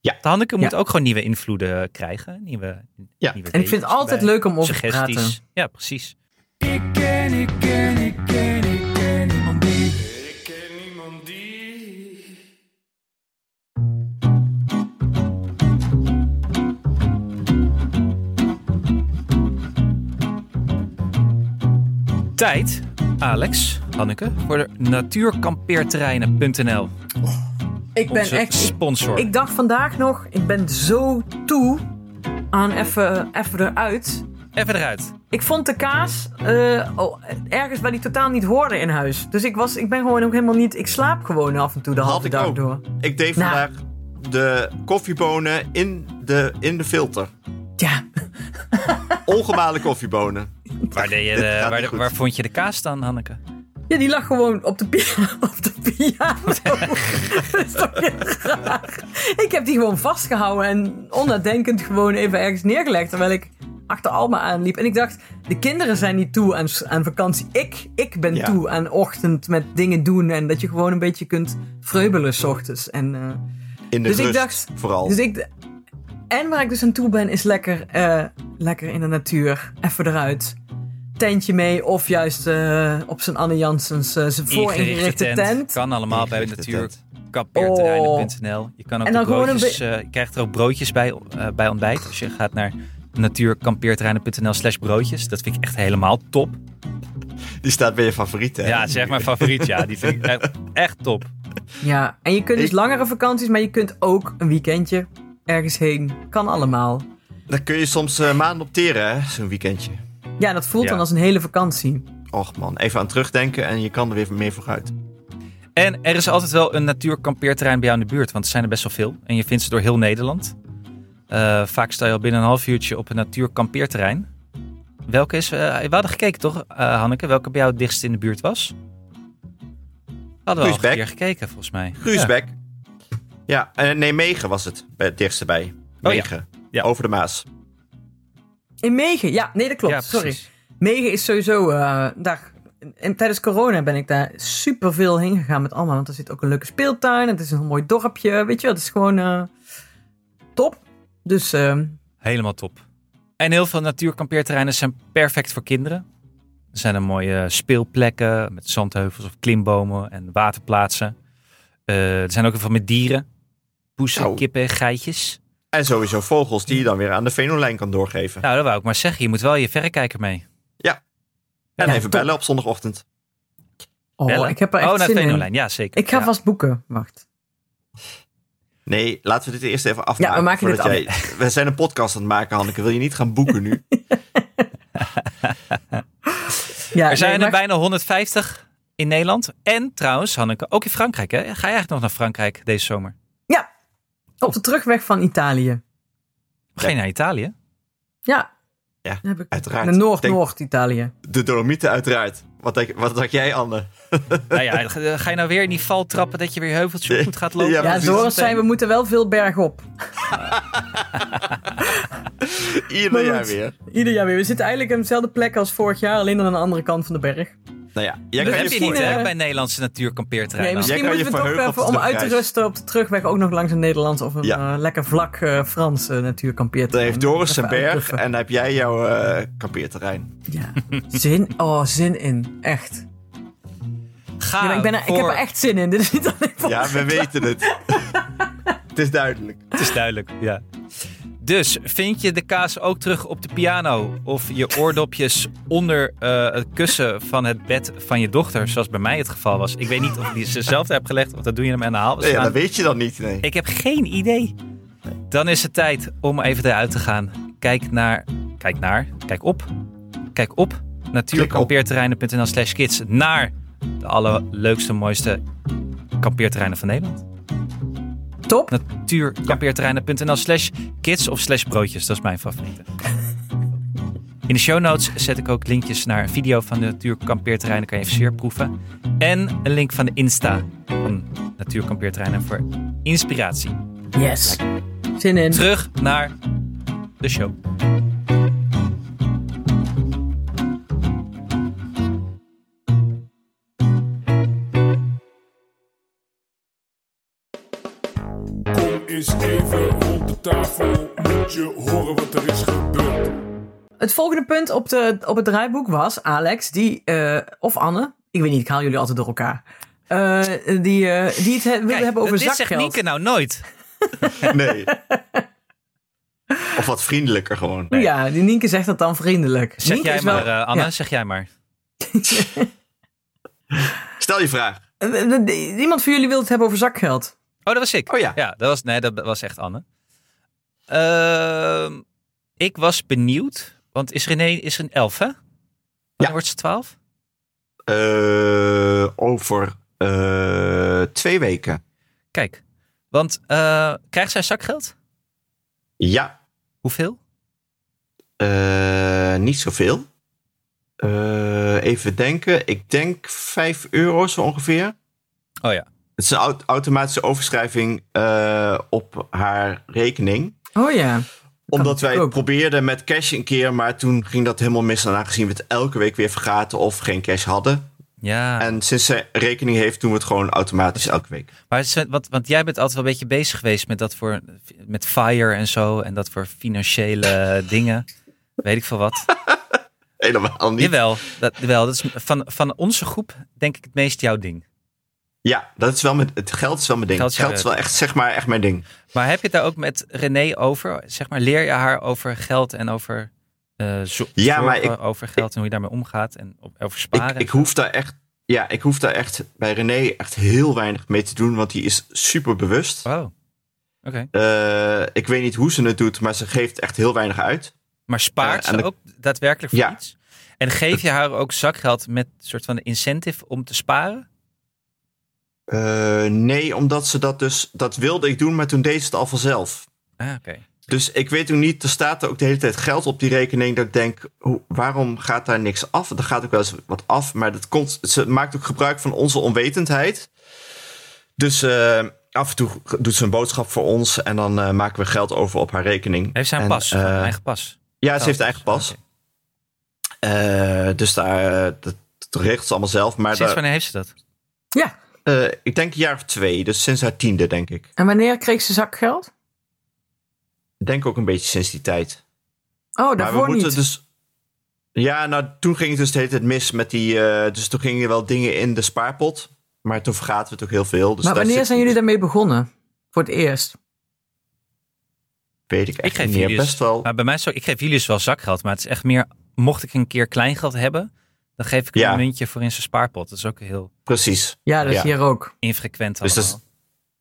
S3: Ja.
S2: De Hanneke moet
S1: Ja.
S2: ook gewoon nieuwe invloeden krijgen. Nieuwe,
S3: Ja.
S2: nieuwe
S1: En ik vind het
S2: levens
S1: altijd
S2: erbij,
S1: leuk om over te
S2: suggesties.
S1: praten.
S2: Ja, precies. Tijd, Alex, Hanneke, voor de natuurkampeerterreinen.nl.
S1: Ik ben
S2: Onze
S1: echt. ik-
S2: sponsor.
S1: Ik dacht vandaag nog, ik ben zo toe aan even even eruit.
S2: Even eruit.
S1: Ik vond de kaas eh, oh, ergens waar die totaal niet hoorde in huis. Dus ik, was, ik ben gewoon ook helemaal niet. Ik slaap gewoon af en toe de halve
S3: ik
S1: dag
S3: ook.
S1: door.
S3: Ik deed
S1: Nou.
S3: vandaag de koffiebonen in de, in de filter.
S1: Ja.
S3: ongemalen *laughs* koffiebonen.
S2: Waar,
S3: *laughs*
S2: deed je de-
S3: Dit gaat
S2: waar,
S3: niet
S2: de-
S3: goed.
S2: waar vond je de kaas staan, Hanneke?
S1: Ja, die lag gewoon op de, pia- *laughs* op de piano. dat is toch heel raar. Ik heb die gewoon vastgehouden en onnadenkend gewoon even ergens neergelegd. Terwijl ik achter Alma aanliep. En ik dacht, de kinderen zijn niet toe aan, s- aan vakantie. Ik, ik ben
S3: Ja.
S1: toe aan ochtend met dingen doen. En dat je gewoon een beetje kunt vreubelen s ochtends. En, eh,
S3: In de
S1: Dus ik
S3: rust,
S1: dacht-
S3: vooral.
S1: dus ik, en waar ik dus aan toe ben, is lekker, eh, lekker in de natuur. Even eruit. Tentje mee, of juist eh, op zijn Anne Janssens eh, zijn vooringerichte tent. Oh.
S2: Kan allemaal bij
S3: Ingerichte tent.
S2: natuurkapbeerterreinen.nl. Je kan ook
S1: En
S2: de
S1: dan gewoon een
S2: broodjes, eh, je krijgt er ook broodjes bij, eh, bij ontbijt. Als je gaat naar natuurkampeerterreinen.nl slash broodjes. Dat vind ik echt helemaal top.
S3: Die staat bij je favoriet, hè?
S2: Ja, zeg maar favoriet. Ja, die vind ik echt, echt top.
S1: Ja, en je kunt dus
S3: Ik-
S1: langere vakanties, maar je kunt ook een weekendje ergens heen. Kan allemaal.
S3: Dan kun je soms eh, maanden opteren, hè? Zo'n weekendje.
S1: Ja, dat voelt
S2: Ja.
S1: dan als een hele vakantie.
S3: Och man, even aan terugdenken en je kan er weer meer vooruit.
S2: En er is altijd wel een natuurkampeerterrein bij jou in de buurt, want er zijn er best wel veel. En je vindt ze door heel Nederland. Eh, vaak sta je al binnen een half uurtje op een natuurkampeerterrein. Welke is, eh, we hadden gekeken toch, eh, Hanneke, welke bij jou het dichtst in de buurt was? Hadden we al een
S3: Guusbeek.
S2: keer gekeken, volgens mij.
S3: Gruusbeck. Ja, Oh eh, nee, Megen was het, bij- het dichtste bij.
S2: ja.
S3: Megen,
S2: Ja.
S3: over de Maas.
S1: In Megen, ja, nee, dat
S2: Ja,
S1: klopt.
S2: ja,
S1: Sorry.
S2: precies.
S1: Megen is sowieso. eh, daar, en tijdens corona ben ik daar super veel heen gegaan met allemaal. Want er zit ook een leuke speeltuin. Het is een mooi dorpje. Weet je wel, het is gewoon eh, top. Dus ehm,
S2: Helemaal top. En heel veel natuurkampeerterreinen zijn perfect voor kinderen. Er zijn er mooie speelplekken met zandheuvels of klimbomen en waterplaatsen. Eh, er zijn ook heel veel met dieren. Poezen,
S3: Zo.
S2: kippen, geitjes.
S3: En sowieso vogels die je dan weer aan de venolijn kan doorgeven.
S2: Nou, dat wou ik maar zeggen. Je moet wel je verrekijker mee.
S1: Oh,
S3: en
S1: ja,
S3: even
S1: top.
S3: bellen op zondagochtend.
S1: oh,
S2: Bellen.
S1: ik heb er echt
S2: oh, naar
S1: zin in.
S2: Venolijn. Ja, zeker.
S1: Ik ga
S2: Ja.
S1: vast boeken. Wacht.
S3: Nee, laten we dit eerst even afmaken.
S1: Ja, we maken dit
S3: voordat jij- we zijn een podcast aan het maken, Hanneke. Wil je niet gaan
S1: *laughs*
S3: boeken nu?
S1: Ja,
S2: Er zijn
S1: nee,
S2: er
S1: maar-
S2: bijna 150 in Nederland. En trouwens, Hanneke, ook in Frankrijk. Hè? Ga je eigenlijk nog naar Frankrijk deze zomer?
S1: Ja, op de terugweg van Italië.
S2: Ga je naar
S1: *laughs*
S2: Italië?
S1: Ja.
S3: Ja,
S1: Dan heb ik
S3: uiteraard.
S1: Naar
S3: Denk-
S1: Noord-Noord-Italië.
S3: De Dolomieten uiteraard. Wat, denk- wat dacht jij, Anne?
S2: nou ja, ga ga je nou weer in die val trappen dat je weer heuveltjes goed gaat lopen?
S3: Ja,
S1: Ja,
S3: precies.
S1: Zoals zijn we moeten wel veel bergop.
S3: Ieder
S1: Maar
S3: jaar
S1: goed.
S3: weer.
S1: Ieder jaar weer. We zitten eigenlijk op dezelfde plek als vorig jaar, alleen dan aan de andere kant van de berg.
S3: Nou ja, jij
S1: Dus
S3: kan
S2: Heb
S3: je
S2: je niet
S1: Misschien,
S2: hè,
S1: eh,
S2: bij Nederlandse
S1: Nee,
S2: natuurkampeerterreinen?
S1: misschien
S3: kan je
S1: moeten we toch
S3: verheugen op de
S1: even, om uit te
S3: terugreis.
S1: rusten op de terugweg, ook nog langs een Nederlands of een
S3: Ja.
S1: eh, lekker vlak eh, Frans eh,
S3: Dan
S1: natuurkampeerterrein.
S3: heeft Doris
S1: Even
S3: een berg
S1: uitpuffen.
S3: en dan heb jij jouw eh, kampeerterrein.
S1: Ja. Zin? Oh, zin in. Echt.
S2: Ga
S1: Ja, maar ik, ben er- ik heb
S2: Ah, voor-
S1: er echt zin in. *laughs* Dit is niet alleen voor...
S3: Ja, we weten
S1: *laughs*
S3: het. het is duidelijk.
S2: Het is duidelijk, ja. Dus, vind je de kaas ook terug op de piano? Of je oordopjes onder eh, het kussen van het bed van je dochter? Zoals bij mij het geval was. Ik weet niet of die ze zelf hebt gelegd, want dat doe je hem aan de haal.
S3: Nee, ja,
S2: slaan.
S3: dat weet je dan niet. Nee.
S2: Ik heb geen idee. Dan is het tijd om even eruit te gaan. Kijk naar, kijk naar, kijk op, kijk op natuurkampeerterreinen.nl slash kids naar de allerleukste, mooiste kampeerterreinen van Nederland.
S1: Top.
S2: Natuurkampeerterreinen.nl slash kids of slash broodjes, dat is mijn favoriete. In de show notes zet ik ook linkjes naar een video van de Natuurkampeerterreinen, kan je even zeer proeven. En een link van de Insta van Natuurkampeerterreinen voor inspiratie
S1: Yes. Zin in.
S2: terug naar de show.
S7: Kom eens even rond de tafel, moet je horen wat er is gebeurd.
S1: Het volgende punt op, de, op het draaiboek was Alex, die, eh, of Anne, ik weet niet, ik haal jullie altijd door elkaar. Eh, die, eh, die het he- wilde
S2: Kijk,
S1: hebben over
S2: dit zegt
S1: zakgeld.
S2: Nienke nou nooit.
S3: Nee. Of wat vriendelijker gewoon.
S1: Ja, die Nienke zegt dat dan vriendelijk.
S2: Zeg
S1: Nienke
S2: jij
S1: is wel-
S2: maar, eh, Anne,
S1: ja.
S2: zeg jij maar.
S3: Stel je vraag.
S1: Eh, eh, eh, Iemand van jullie wil het hebben over zakgeld.
S2: Oh, dat was ik.
S3: Oh ja.
S2: Ja, dat was, nee, dat was echt Anne. Ehm, ik was benieuwd, want is René is een elf, hè? Wanneer
S3: Ja.
S2: wordt ze twaalf?
S3: Eh, over eh, twee weken.
S2: Kijk, want eh, krijgt zij zakgeld?
S3: Ja,
S2: Hoeveel?
S3: Eh, niet zoveel. Eh, even denken. Ik denk 5 euro zo ongeveer.
S2: Oh ja.
S3: Het is een au- automatische overschrijving eh, op haar rekening.
S1: Oh ja.
S3: Omdat wij
S1: natuurlijk
S3: het
S1: ook.
S3: probeerden met cash een keer, maar toen ging dat helemaal mis. En aangezien we het elke week weer vergaten of geen cash hadden.
S2: Ja.
S3: En sinds zij rekening heeft, doen we het gewoon automatisch elke week.
S2: Maar ze- want, want jij bent altijd wel een beetje bezig geweest met dat voor met fire en zo en dat voor financiële *laughs* dingen. Weet ik veel wat.
S3: Helemaal niet.
S2: Jawel, dat, jawel, dat is van, van onze groep denk ik het meest jouw ding.
S3: Ja, dat is wel mijn, het geld is wel mijn ding.
S2: Geld
S3: Geld
S2: is
S3: is,
S2: jouw
S3: wel echt, zeg maar, echt mijn ding.
S2: Maar heb je het daar ook met René over? Zeg maar, leer je haar over geld en over eh zo-
S3: Ja, maar
S2: zorgen
S3: ik-
S2: over geld en hoe je daarmee omgaat en op- over
S3: Ik,
S2: sparen?
S3: ik, hoef daar echt, ja, ik hoef daar echt bij René echt heel weinig mee te doen, want die is super bewust.
S2: Oh, oké.
S3: Eh, ik weet niet hoe ze het doet, maar ze geeft echt heel weinig uit.
S2: Maar spaart
S3: Ja, en
S2: ze
S3: de-
S2: ook daadwerkelijk voor
S3: Ja.
S2: iets? En geef je haar ook zakgeld met soort van de incentive om te sparen?
S3: Eh, nee, omdat ze dat dus, dat wilde ik doen, maar toen deed ze het al vanzelf.
S2: Ah, oké.
S3: Dus ik weet toen niet, er staat er ook de hele tijd geld op die rekening. Dat ik denk, hoe, waarom gaat daar niks af? Er gaat ook wel eens wat af, maar dat komt, ze maakt ook gebruik van onze onwetendheid. Dus eh, af en toe doet ze een boodschap voor ons en dan eh, maken we geld over op haar rekening.
S2: Heeft zij een
S3: En,
S2: pas? Gewoon
S3: eh,
S2: een eigen pas?
S3: Ja, ze heeft eigen pas.
S2: Oké.
S3: Eh, dus daar, eh, dat, dat regelt ze allemaal zelf. Maar
S2: Sinds
S3: daar-
S2: wanneer heeft ze dat?
S1: Ja.
S3: eh, ik denk een jaar of twee, dus sinds haar tiende denk ik.
S1: En wanneer kreeg ze zakgeld?
S3: Ik denk ook een beetje sinds die tijd.
S1: Oh,
S3: Maar we
S1: daarvoor
S3: moeten
S1: niet.
S3: dus. Ja, nou, toen ging het dus de hele tijd mis met die. eh, dus toen gingen wel dingen in de spaarpot. Maar toen vergaten we het ook heel veel. Dus
S1: maar
S3: daar
S1: wanneer
S3: zit-
S1: zijn jullie daarmee begonnen? Voor het eerst.
S3: Weet ik echt
S2: Ik geef
S3: niet meer.
S2: jullie dus-
S3: Best wel.
S2: Maar bij mij is het ook- ik geef jullie dus wel zakgeld, maar het is echt meer, mocht ik een keer kleingeld hebben, dan geef ik er
S3: Ja.
S2: een muntje voor in zijn spaarpot. Dat is ook heel
S3: Precies.
S1: Ja, dat is
S3: Ja.
S1: hier ook.
S2: infrequent
S3: Dus dat is-
S2: allemaal.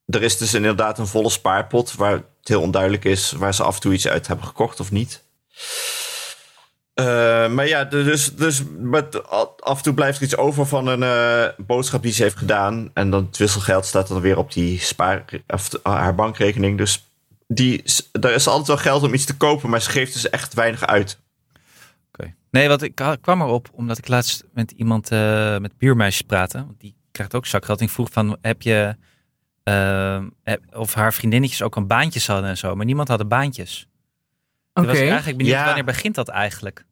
S3: Er is dus inderdaad een volle spaarpot. Waar het heel onduidelijk is waar ze af en toe iets uit hebben gekocht of niet. Eh, maar ja, de- dus, dus met, af en toe blijft er iets over van een eh, boodschap die ze heeft gedaan. En dan het wisselgeld staat dan weer op die spaar, of, de- ah, haar bankrekening. Dus die, s- daar is altijd wel geld om iets te kopen, maar ze geeft dus echt weinig uit.
S2: Oké. Nee, want ik ha- kwam erop omdat ik laatst met iemand, eh, met buurmeisjes praatte. Want die krijgt ook zakgeld. En ik vroeg van, heb je, eh, heb- of haar vriendinnetjes ook een baantjes hadden en zo. Maar niemand had baantjes. Toen
S1: Oké.
S2: was ik eigenlijk benieuwd,
S3: Ja.
S2: wanneer begint dat eigenlijk?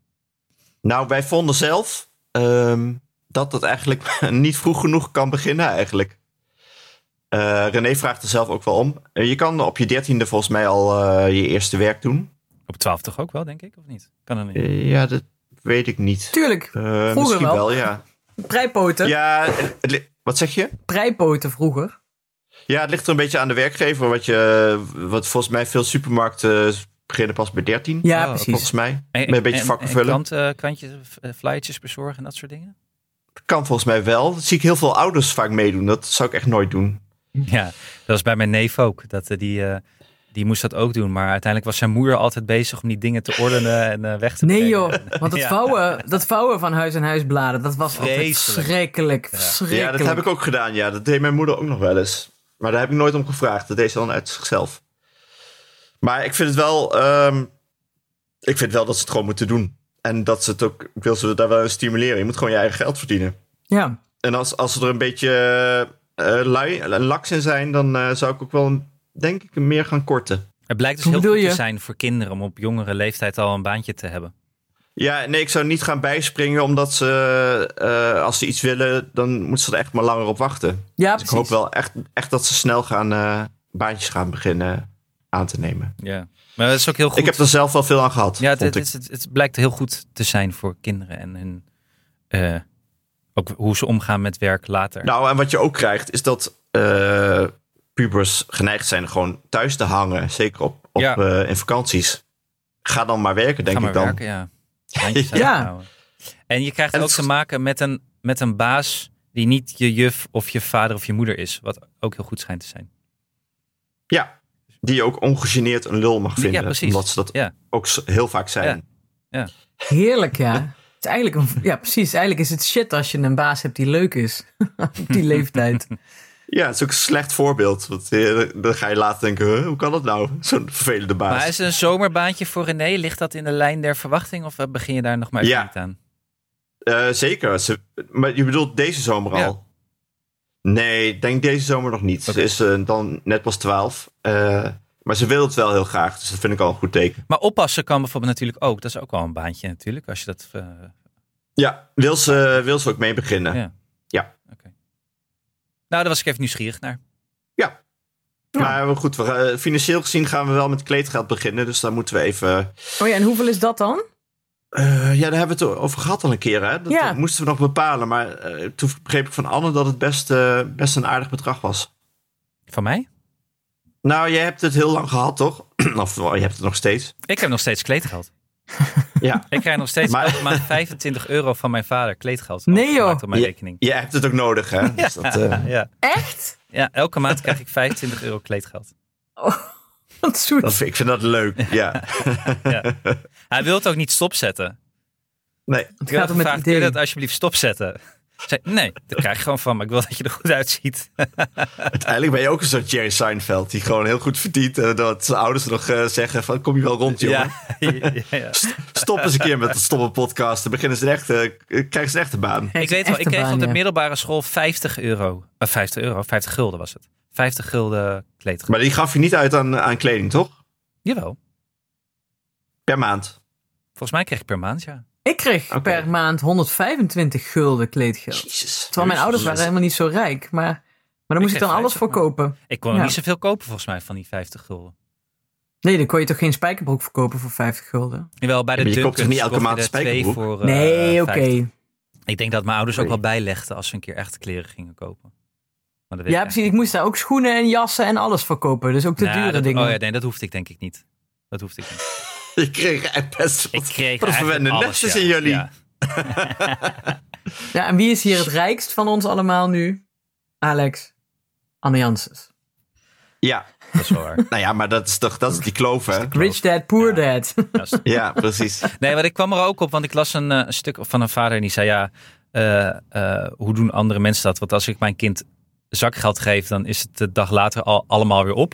S3: Nou, wij vonden zelf ehm, dat dat eigenlijk *laughs* niet vroeg genoeg kan beginnen eigenlijk. Eh, René vraagt er zelf ook wel om. Eh, je kan op je dertiende volgens mij al eh, je eerste werk doen.
S2: Op twaalf toch ook wel, denk ik, of niet? Kan dat niet?
S3: Eh, ja, dat weet ik niet.
S1: Tuurlijk.
S3: Eh,
S1: Vroeger
S3: misschien wel,
S1: wel. *laughs*
S3: ja.
S1: Prijpoten.
S3: ja het- het li- wat zeg je?
S1: Prijpoten vroeger.
S3: Ja, het ligt er een beetje aan de werkgever. Wat, je, wat volgens mij veel supermarkten eh, beginnen pas bij 13.
S1: Ja,
S2: Oh,
S1: precies.
S3: Volgens mij.
S2: En-
S3: Met een beetje
S2: en-
S3: vakken
S2: en
S3: vullen.
S2: krant, eh, krantjes, eh, flyertjes bezorgen en dat soort dingen?
S3: Kan volgens mij wel. Dat zie ik heel veel ouders vaak meedoen. Dat zou ik echt nooit doen.
S2: *laughs* Ja, dat was bij mijn neef ook. Dat, eh, die, eh, die moest dat ook doen. Maar uiteindelijk was zijn moeder altijd bezig om die dingen te ordenen en eh, weg te
S1: Nee
S2: brengen.
S1: joh, want dat,
S2: *laughs* Ja.
S1: vouwen, dat vouwen van huis en huis bladen, dat was altijd
S2: Vreselijk.
S1: verschrikkelijk.
S3: Ja,
S1: verschrikkelijk.
S3: dat heb ik ook gedaan. Ja, dat deed mijn moeder ook nog wel eens. Maar daar heb ik nooit om gevraagd. Dat deed ze dan uit zichzelf. Maar ik vind het wel. ehm, ik vind wel dat ze het gewoon moeten doen. En dat ze het ook. Ik wil ze daar wel in stimuleren. Je moet gewoon je eigen geld verdienen.
S1: Ja.
S3: En als, als ze er een beetje eh, lui, laks in zijn, dan eh, zou ik ook wel, denk ik, meer gaan korten.
S2: Het blijkt dus
S1: Hoe
S2: heel
S1: bedoel
S2: goed te
S1: je?
S2: zijn voor kinderen om op jongere leeftijd al een baantje te hebben.
S3: Ja, nee, ik zou niet gaan bijspringen, omdat ze. eh, als ze iets willen, dan moeten ze er echt maar langer op wachten.
S1: ja, precies.
S3: Dus ik hoop wel echt, echt dat ze snel gaan eh, baantjes gaan beginnen aan te nemen.
S2: Ja. Maar dat is ook heel goed.
S3: Ik heb er zelf wel veel aan gehad.
S2: ja, het,
S3: vond
S2: het,
S3: ik.
S2: het, het- het blijkt heel goed te zijn voor kinderen en hun, eh, ook hoe ze omgaan met werk later.
S3: Nou, en wat je ook krijgt, is dat eh, pubers geneigd zijn gewoon thuis te hangen. Zeker op, op,
S2: Ja.
S3: eh, in vakanties. Ga dan maar werken, denk
S2: Ga
S3: ik dan.
S2: maar werken, ja.
S1: *laughs*
S2: Handjes
S3: Ja.
S2: uithouden. En je krijgt
S3: En
S2: ook
S3: het-
S2: te maken met een, met een baas die niet je juf of je vader of je moeder is. Wat ook heel goed schijnt te zijn.
S3: Ja, die je ook ongegeneerd een lul mag vinden.
S2: precies.
S3: Omdat ze dat
S2: Ja.
S3: ook s- heel vaak zijn.
S1: Heerlijk, ja. Het is *laughs*
S2: *laughs*
S1: eigenlijk een, ja, precies. Eigenlijk is het shit als je een baas hebt die leuk is. Op die leeftijd.
S3: Ja, het is ook een slecht voorbeeld. Want eh, dan ga je later denken, huh, hoe kan dat nou? Zo'n vervelende baas.
S2: Maar is een zomerbaantje voor René? Ligt dat in de lijn der verwachting? Of eh, begin je daar nog maar even
S3: Ja.
S2: niet aan?
S3: Eh, zeker. Ze- maar je bedoelt deze zomer
S2: Ja.
S3: al? Nee, ik denk deze zomer nog niet.
S2: Oké.
S3: Ze is eh, dan net pas 12. Eh, maar ze wil het wel heel graag, dus dat vind ik al een goed teken.
S2: Maar oppassen kan bijvoorbeeld natuurlijk ook. Dat is ook wel een baantje natuurlijk. Als je dat... eh,
S3: Ja, wil ze, eh, wil ze ook mee beginnen?
S2: Ja.
S3: Ja.
S2: Oké. Nou, daar was ik even nieuwsgierig naar.
S3: Maar goed, we, eh, financieel gezien gaan we wel met kleedgeld beginnen. Dus daar moeten we even.
S1: Oh ja, en hoeveel is dat dan?
S3: Eh, ja, daar hebben we het over gehad al een keer. Hè? Dat eh,
S1: Ja.
S3: moesten we nog bepalen. Maar eh, toen begreep ik van Anne dat het best, eh, best een aardig bedrag was.
S2: Van mij?
S3: Nou, jij hebt het heel lang gehad, toch? *clears throat* of wel, je hebt het nog steeds.
S2: Ik heb nog steeds kleedgeld.
S3: Ja.
S2: Ik krijg nog
S3: *laughs*
S2: steeds
S3: Maar-
S2: elke maand 25 euro van mijn vader kleedgeld.
S1: Nee, joh.
S2: overgemaakt Op mijn
S3: Je-
S2: rekening.
S3: Jij hebt het ook nodig,
S2: *laughs*
S3: hè? Dus dat, eh,
S2: Ja.
S1: Echt? *laughs*
S2: ja, elke maand krijg ik 25 euro kleedgeld.
S1: Wat zoet.
S3: dat, vind- ik vind dat
S2: *laughs*
S3: leuk. Ja.
S2: Hij wil het ook niet stopzetten.
S3: Nee.
S2: Het
S1: gaat
S2: gaat
S1: om het
S2: gevraagd,
S1: idee.
S2: kun je dat alsjeblieft stopzetten? Ik Zei, nee, daar krijg je gewoon van, maar ik wil dat je er goed uitziet.
S3: Uiteindelijk ben je ook een soort Jerry Seinfeld. Die gewoon heel goed verdient. eh, dat zijn ouders nog eh, zeggen van kom je wel rond, jongen.
S2: Ja, *laughs* ja, ja.
S3: *laughs* Stop eens een keer met dat stomme podcast. Dan beginnen ze een echte, eh, krijgen ze een echte baan.
S2: Ik weet wel, ik kreeg op
S1: van
S2: de middelbare school 50 euro. Eh, 50 euro, 50 gulden was het. 50 gulden kleedgeld.
S3: Maar die gaf je niet uit aan, aan kleding, toch?
S2: Jawel,
S3: Per maand.
S2: volgens mij kreeg ik per maand, ja.
S1: Ik kreeg
S3: Oké.
S1: per maand 125 gulden kleedgeld.
S3: Jezus.
S1: Terwijl mijn ouders waren helemaal niet zo rijk. Maar, maar daar moest ik
S2: kreeg
S1: dan alles
S2: 50
S1: voor
S2: man.
S1: kopen.
S2: Ik kon er
S1: Ja.
S2: niet zoveel kopen volgens mij van die 50 gulden.
S1: Nee, dan kon je toch geen spijkerbroek verkopen voor 50 gulden?
S2: Jawel, bij de
S3: maar je
S2: Dunkers
S3: koopt toch niet elke
S2: kocht je
S3: maand
S2: er twee
S3: spijkerbroek?
S2: voor, eh,
S1: nee, oké.
S2: 50. Ik denk dat mijn ouders ook
S3: Nee.
S2: wel bijlegden als ze een keer echte kleren gingen kopen. Maar dat weet
S1: Ja,
S2: ik eigenlijk
S1: precies. Ik moest daar ook schoenen en jassen en alles voor kopen. Dus ook de
S2: Nou,
S1: dure
S2: dat-
S1: dingen.
S2: Oh ja, nee, dat hoefde ik denk ik niet. Dat hoefde ik
S3: *laughs*
S2: niet.
S3: Je kreeg echt best
S2: Ik
S3: wat,
S2: kreeg
S3: wat
S2: eigenlijk
S3: verwende
S2: alles,
S3: nestjes
S2: ja.
S3: in jullie.
S2: Ja.
S1: Ja, en wie is hier het rijkst van ons allemaal nu? Alex. Anne Janssens.
S3: Ja.
S2: dat is wel waar.
S1: *laughs*
S3: Nou ja, maar dat is toch dat is die kloof,
S2: *laughs*
S3: hè?
S1: Rich dad, poor dad. *laughs*
S2: Ja, is-
S3: Ja, precies.
S2: Nee, maar ik kwam er ook op, want ik las een, eh, een stuk van een vader en die zei: Ja, eh, eh, hoe doen andere mensen dat? Want als ik mijn kind zakgeld geef, dan is het de dag later al allemaal weer op.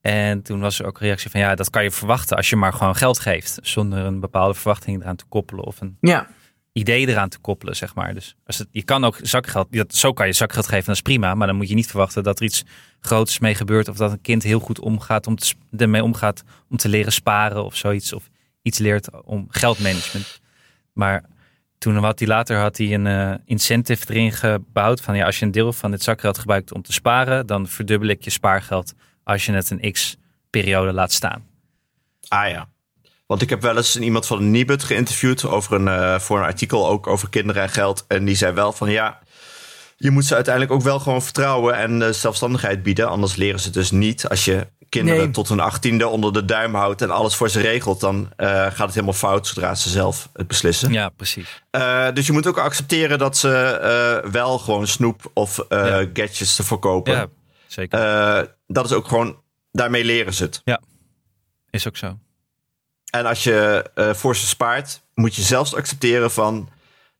S2: En toen was er ook een reactie van: Ja, dat kan je verwachten als je maar gewoon geld geeft. Zonder een bepaalde verwachting eraan te koppelen of een
S1: ja.
S2: idee eraan te koppelen, zeg maar. Dus als het, je kan ook zakgeld, dat, zo kan je zakgeld geven, dat is prima. Maar dan moet je niet verwachten dat er iets groots mee gebeurt. Of dat een kind heel goed omgaat om te, sp- ermee omgaat om te leren sparen of zoiets. Of iets leert om geldmanagement. Maar toen had hij later had hij een eh, incentive erin gebouwd. Van ja, als je een deel van dit zakgeld gebruikt om te sparen, dan verdubbel ik je spaargeld als je het een x periode laat staan.
S3: Ah ja. Want ik heb wel eens iemand van de Nibud geïnterviewd over een, eh, voor een artikel ook over kinderen en geld. En die zei wel van ja, je moet ze uiteindelijk ook wel gewoon vertrouwen en eh, zelfstandigheid bieden. Anders leren ze dus niet. Als je kinderen
S1: Nee.
S3: tot hun achttiende onder de duim houdt en alles voor ze regelt, dan eh, gaat het helemaal fout zodra ze zelf het beslissen.
S2: Ja, precies.
S3: Eh, dus je moet ook accepteren dat ze eh, wel gewoon snoep of eh,
S2: Ja.
S3: gadgets te verkopen.
S2: Ja, zeker.
S3: Eh, dat is ook gewoon, daarmee leren ze het.
S2: Is ook zo.
S3: En als je eh, voor ze spaart, moet je zelfs accepteren van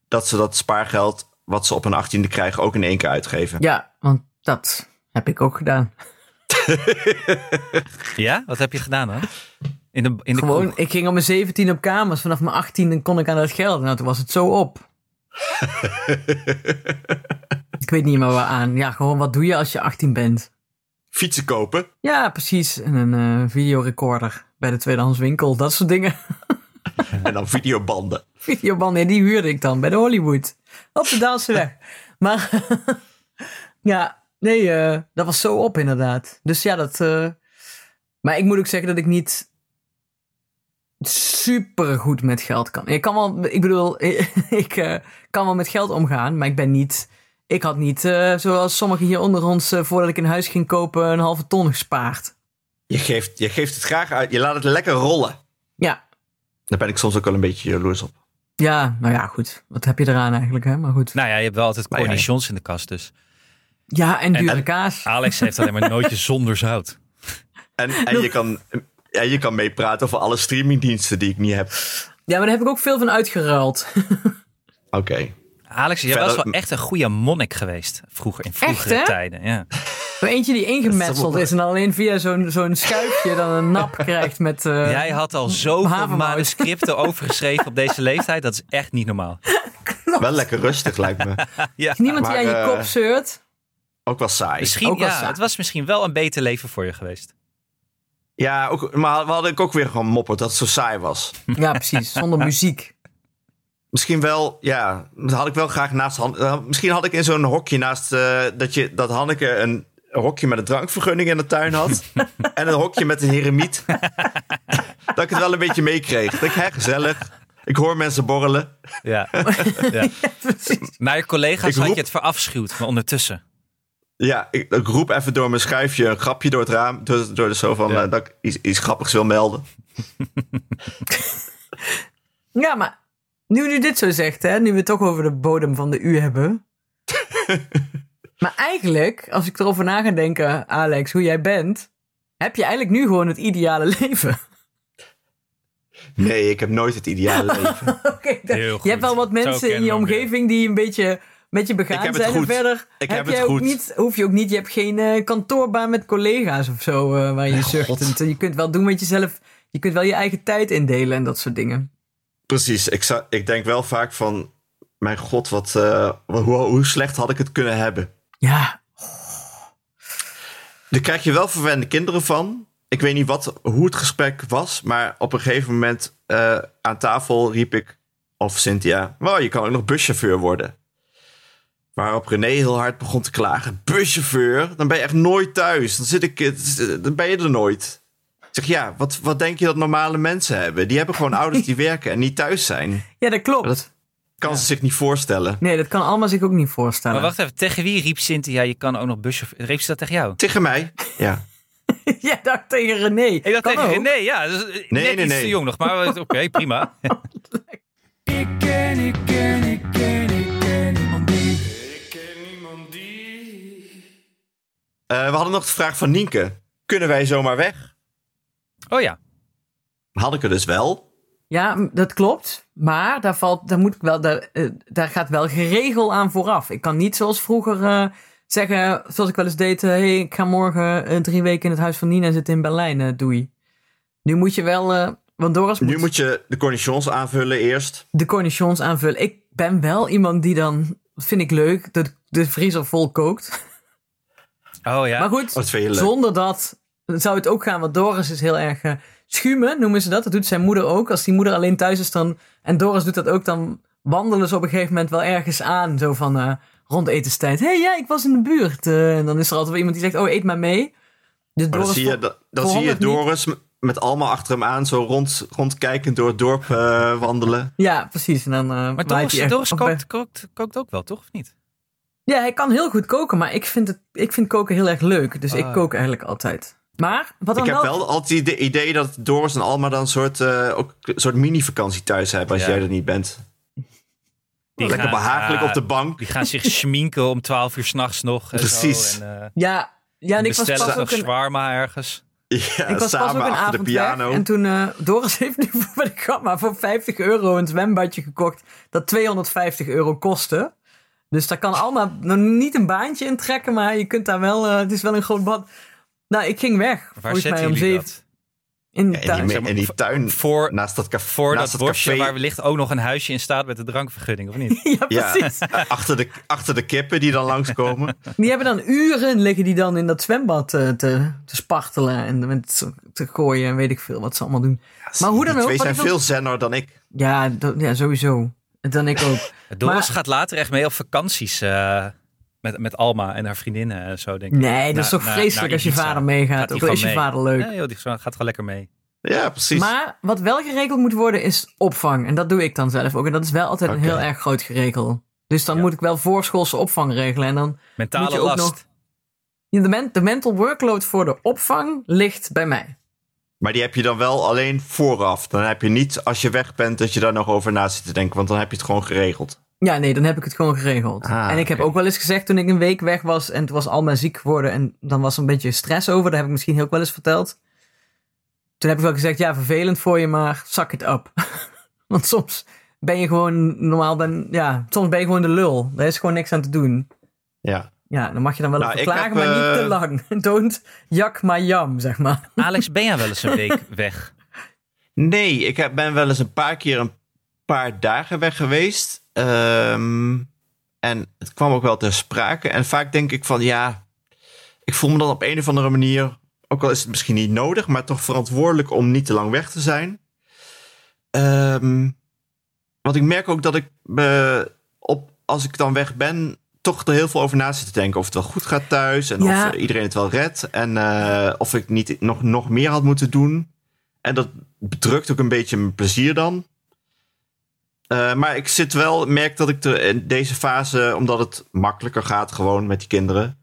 S3: dat ze dat spaargeld wat ze op hun 18e krijgen ook in één keer uitgeven.
S1: Ja, want dat heb ik ook gedaan.
S2: Ja? Wat heb je gedaan dan? In de, in de
S1: Gewoon,
S2: kroeg?
S1: ik ging op mijn 17 op kamers. Vanaf mijn 18 kon ik aan dat geld. Nou, toen was het zo op. ik weet niet meer waaraan. Ja, gewoon wat doe je als je 18 bent?
S3: Fietsen kopen.
S1: Ja, precies. En een eh, videorecorder bij de tweedehands winkel. Dat soort dingen.
S3: En dan *laughs* videobanden.
S1: Videobanden, ja, die huurde ik dan bij de Hollywood. Op de Daalseweg. maar *laughs* ja, nee, eh, dat was zo op inderdaad. Dus ja, dat... eh, maar ik moet ook zeggen dat ik niet super goed met geld kan. Ik kan wel, ik bedoel, *laughs* ik eh, kan wel met geld omgaan, maar ik ben niet... Ik had niet, eh, zoals sommigen hier onder ons, eh, voordat ik een huis ging kopen, een halve ton gespaard.
S3: Je geeft, je geeft het graag uit. Je laat het lekker rollen.
S1: Ja,
S3: Daar ben ik soms ook wel een beetje jaloers op.
S1: ja, nou ja, goed. Wat heb je eraan eigenlijk, hè? Maar goed.
S2: Nou ja, je hebt wel altijd
S3: ja.
S2: cornichons in de kast dus.
S1: Ja, en dure
S2: en-
S1: kaas.
S2: Alex heeft alleen maar nootjes *laughs* zonder zout.
S3: En, en, je, kan, en je kan meepraten over alle streamingdiensten die ik niet heb.
S1: Ja, maar daar heb ik ook veel van uitgeruild.
S3: Oké.
S2: Alex, jij was
S3: Verder-
S2: wel echt een goede monnik geweest vroeger, in vroegere
S1: Echt, hè?
S2: tijden. Ja.
S1: Zo eentje die ingemetseld is en alleen via zo'n zo'n schuifje dan een nap krijgt met... eh,
S2: Jij had al zoveel
S1: havermout. *laughs*
S2: manuscripten overgeschreven op deze leeftijd. Dat is echt niet normaal.
S3: Wel lekker rustig lijkt me.
S2: Ja.
S1: Niemand die
S3: Maar,
S1: aan je
S3: eh,
S1: kop zeurt.
S3: Ook wel saai.
S2: Misschien,
S1: Ook wel
S2: ja,
S1: saai.
S2: het was misschien wel een beter leven voor je geweest.
S3: Ja, ook, maar we hadden ik ook weer gewoon mopperd dat het zo saai was.
S1: Ja, precies. Zonder muziek.
S3: Misschien wel, ja, dat had ik wel graag naast Han- eh, Misschien had ik in zo'n hokje naast eh, dat, je, dat Hanneke een hokje met een drankvergunning in de tuin had. en een hokje met een heremiet. *laughs* dat ik het wel een beetje meekreeg. Dat ik, hè, gezellig. Ik hoor mensen borrelen.
S1: *laughs*
S2: Ja. ja. Maar je collega's
S3: Ik
S2: had
S3: roep-
S2: je het verafschuwd, maar ondertussen.
S3: Ja, ik, ik roep even door mijn schuifje een grapje door het raam. Door, door de zo van
S2: Ja.
S3: eh, dat ik iets, iets grappigs wil melden.
S1: Ja, maar nu u dit zo zegt, hè, nu we het toch over de bodem van de U
S3: *laughs*
S1: hebben. maar eigenlijk, als ik erover na ga denken, Alex, hoe jij bent, heb je eigenlijk nu gewoon het ideale *laughs* leven.
S3: Nee, ik heb nooit het ideale leven.
S1: Oké, dat-
S2: Heel goed.
S1: je hebt wel wat
S2: Zo
S1: mensen in
S2: kennen
S1: je
S2: we hem
S1: omgeving die een beetje met je
S3: Ik
S1: begaan
S3: heb het
S1: zijn. En
S3: goed.
S1: verder
S3: Ik heb
S1: jij
S3: het
S1: ook
S3: goed.
S1: Niet, hoef je ook niet. Je hebt geen eh, kantoorbaan met collega's of zo eh, waar je zuchtend. Je kunt wel doen met jezelf. Je kunt wel je eigen tijd indelen en dat soort dingen.
S3: Precies, ik, zou- ik denk wel vaak van... Mijn god, wat, eh, hoe, hoe slecht had ik het kunnen hebben?
S1: Ja,
S3: Daar krijg je wel verwende kinderen van. Ik weet niet wat, hoe het gesprek was, maar op een gegeven moment eh, aan tafel riep ik, of Cynthia, wow, je kan ook nog buschauffeur worden. Waarop René heel hard begon te klagen. Buschauffeur? Dan ben je echt nooit thuis. Dan, zit ik, eh, dan ben je er nooit. Ik zeg, ja, wat, wat denk je dat normale mensen hebben? Die hebben gewoon ouders die werken en niet thuis zijn.
S1: ja dat klopt.
S3: Dat kan ze zich niet voorstellen.
S1: Nee, dat kan allemaal zich ook niet voorstellen.
S2: Maar wacht even, tegen wie riep Cynthia, je kan ook nog buschauffeur... Riep ze dat tegen jou?
S3: Tegen mij? Ja.
S1: *laughs* Jij dacht tegen René.
S2: Ik dacht
S1: Kan
S2: tegen
S1: ook.
S2: René, ja. Dus nee, net
S3: nee,
S2: iets
S3: nee.
S2: te jong nog, maar eh, oké,
S1: *laughs*
S2: prima.
S7: Ik ken, ik ken, ik ken, ik ken niemand die. Ik ken niemand die.
S3: Eh, we hadden nog de vraag van Nienke. Kunnen wij zomaar weg?
S2: Oh ja,
S3: Had ik er dus wel.
S1: Ja, m- dat klopt. Maar daar, valt, daar, moet ik wel, daar, eh, daar gaat wel geregel aan vooraf. Ik kan niet zoals vroeger eh, zeggen, zoals ik wel eens deed... eh, hey, ik ga morgen eh, drie weken in het huis van Nina zitten in Berlijn. eh, doei. Nu moet je wel... eh, want Doris moet,
S3: Nu moet je de conditions aanvullen eerst.
S1: de cornichons aanvullen. Ik ben wel iemand die dan... Dat vind ik leuk, dat de vriezer vol kookt.
S2: oh ja.
S1: Maar goed,
S3: Wat vind je leuk?
S1: Zonder dat zou het ook gaan, want Doris is heel erg eh, schumen, noemen ze dat. Dat doet zijn moeder ook. Als die moeder alleen thuis is dan, en Doris doet dat ook, dan wandelen ze op een gegeven moment wel ergens aan. Zo van eh, rond etenstijd. Hé, hey, ja, ik was in de buurt. eh, en dan is er altijd wel iemand die zegt, oh, eet maar mee. Dus
S3: Maar Oh, dan
S1: Doris
S3: zie je,
S1: vo-
S3: dan, dan zie je
S1: verandert niet.
S3: Doris m- met allemaal achter hem aan zo rond, rondkijkend door het dorp eh, wandelen.
S1: Ja, precies. En dan, eh,
S2: maar
S1: waait
S2: Doris,
S1: hij echt-
S2: Doris
S1: of bij-
S2: kookt, kookt, kookt ook wel, toch? Of niet?
S1: Ja, hij kan heel goed koken, maar ik vind, het, ik vind koken heel erg leuk. Dus ik
S2: Ah.
S1: kook eigenlijk altijd. Maar wat dan
S3: Ik heb
S1: wel...
S3: wel altijd het idee dat Doris en Alma dan een soort, eh, ook een soort mini-vakantie thuis hebben als
S2: Ja.
S3: jij er niet bent.
S2: Die
S3: Lekker
S2: gaan-
S3: behagelijk
S2: ja,
S3: op de bank. *laughs*
S2: Die gaan zich schminken om 12 uur s'nachts nog. En
S3: Precies.
S2: Zo, en, eh,
S1: Ja, ja en ik was
S2: bestellen
S1: pas
S2: nog
S1: ook een
S2: shawarma ergens.
S3: Ja,
S1: Ik was pas
S3: Eh, samen
S1: ook een
S3: achter de
S1: avond
S3: piano.
S1: weg en toen... eh, Doris *laughs* heeft nu voor, wat ik had, maar voor 50 euro een zwembadje gekocht dat 250 euro kostte. Dus daar kan allemaal nog niet een baantje in trekken, maar je kunt daar wel... eh, het is wel een groot bad. Nou, ik ging weg.
S2: Waar
S1: volgens mij
S2: zetten
S1: om
S2: jullie
S1: zeven
S2: dat?
S1: in de
S3: En die,
S1: tuin.
S3: me- en die tuin
S2: Voor-
S3: naast dat café.
S2: Voor
S3: Nou, naast
S2: dat
S3: dat
S2: bosje
S3: café.
S2: waar wellicht ook nog een huisje in staat met de drankvergunning,
S1: *laughs*
S2: of
S1: *laughs*
S2: niet?
S1: Ja,
S3: Ja,
S1: precies.
S3: achter de, achter de kippen die dan langskomen.
S1: Die hebben dan uren liggen die dan in dat zwembad eh, te, te spartelen en met, te gooien en weet ik veel wat ze allemaal doen. maar hoe dan
S3: die
S1: ook.
S3: twee
S1: wat
S3: zijn
S1: ik wil-
S3: veel zenner dan ik.
S1: Ja, dat- ja, sowieso. Dan ik ook.
S2: Doris
S1: Maar-
S2: gaat later echt mee op vakanties eh, met, met Alma en haar vriendinnen en zo, denk ik.
S1: Nee, dat
S2: Na-
S1: is toch
S2: na-
S1: vreselijk
S2: naar
S1: als je
S2: Nou, Ibiza.
S1: vader meegaat.
S2: Gaat hij
S1: Ook al is je
S2: gewoon mee.
S1: vader leuk.
S2: Nee, joh, die gaat gewoon lekker mee.
S3: Ja, precies.
S1: Maar wat wel geregeld moet worden is opvang. En dat doe ik dan zelf ook. En dat is wel altijd een
S3: Oké.
S1: heel erg groot geregel. Dus dan moet ik wel voorschoolse opvang regelen. En dan Moet
S2: Mentale
S1: je ook
S2: last.
S1: nog- ja, de, men- de mental workload voor de opvang ligt bij mij.
S3: Maar die heb je dan wel alleen vooraf. Dan heb je niet als je weg bent dat je daar nog over na zit te denken, want dan heb je het gewoon geregeld.
S1: Ja, nee, dan heb ik het gewoon geregeld.
S3: Ah,
S1: en ik heb
S3: oké.
S1: ook wel eens gezegd toen ik een week weg was en toen was Alma ziek geworden en dan was er een beetje stress over. Daar heb ik misschien ook wel eens verteld. Toen heb ik wel gezegd, ja, vervelend voor je, maar zak het op. *laughs* Want soms ben je gewoon normaal, ben, ja, soms ben je gewoon de lul. Daar is gewoon niks aan te doen.
S3: Ja.
S1: Ja, dan mag je dan wel
S3: Nou,
S1: even
S3: ik
S1: klagen,
S3: heb,
S1: maar niet te
S3: eh,
S1: lang. *laughs* Don't jak maar jam, zeg maar.
S2: Alex, ben jij wel eens een
S1: *laughs*
S2: week weg?
S3: Nee, ik heb, ben wel eens een paar keer een paar dagen weg geweest. Ehm, en het kwam ook wel ter sprake. En vaak denk ik van ja, ik voel me dan op een of andere manier, ook al is het misschien niet nodig, maar toch verantwoordelijk om niet te lang weg te zijn. Ehm, want ik merk ook dat ik eh, op, als ik dan weg ben, toch er heel veel over na zit te denken. Of het wel goed gaat thuis en
S1: Ja.
S3: of eh, iedereen het wel redt. En eh, of ik niet nog, nog meer had moeten doen. En dat bedrukt ook een beetje mijn plezier dan. Eh, maar ik zit wel, merk dat ik er in deze fase, omdat het makkelijker gaat gewoon met die kinderen,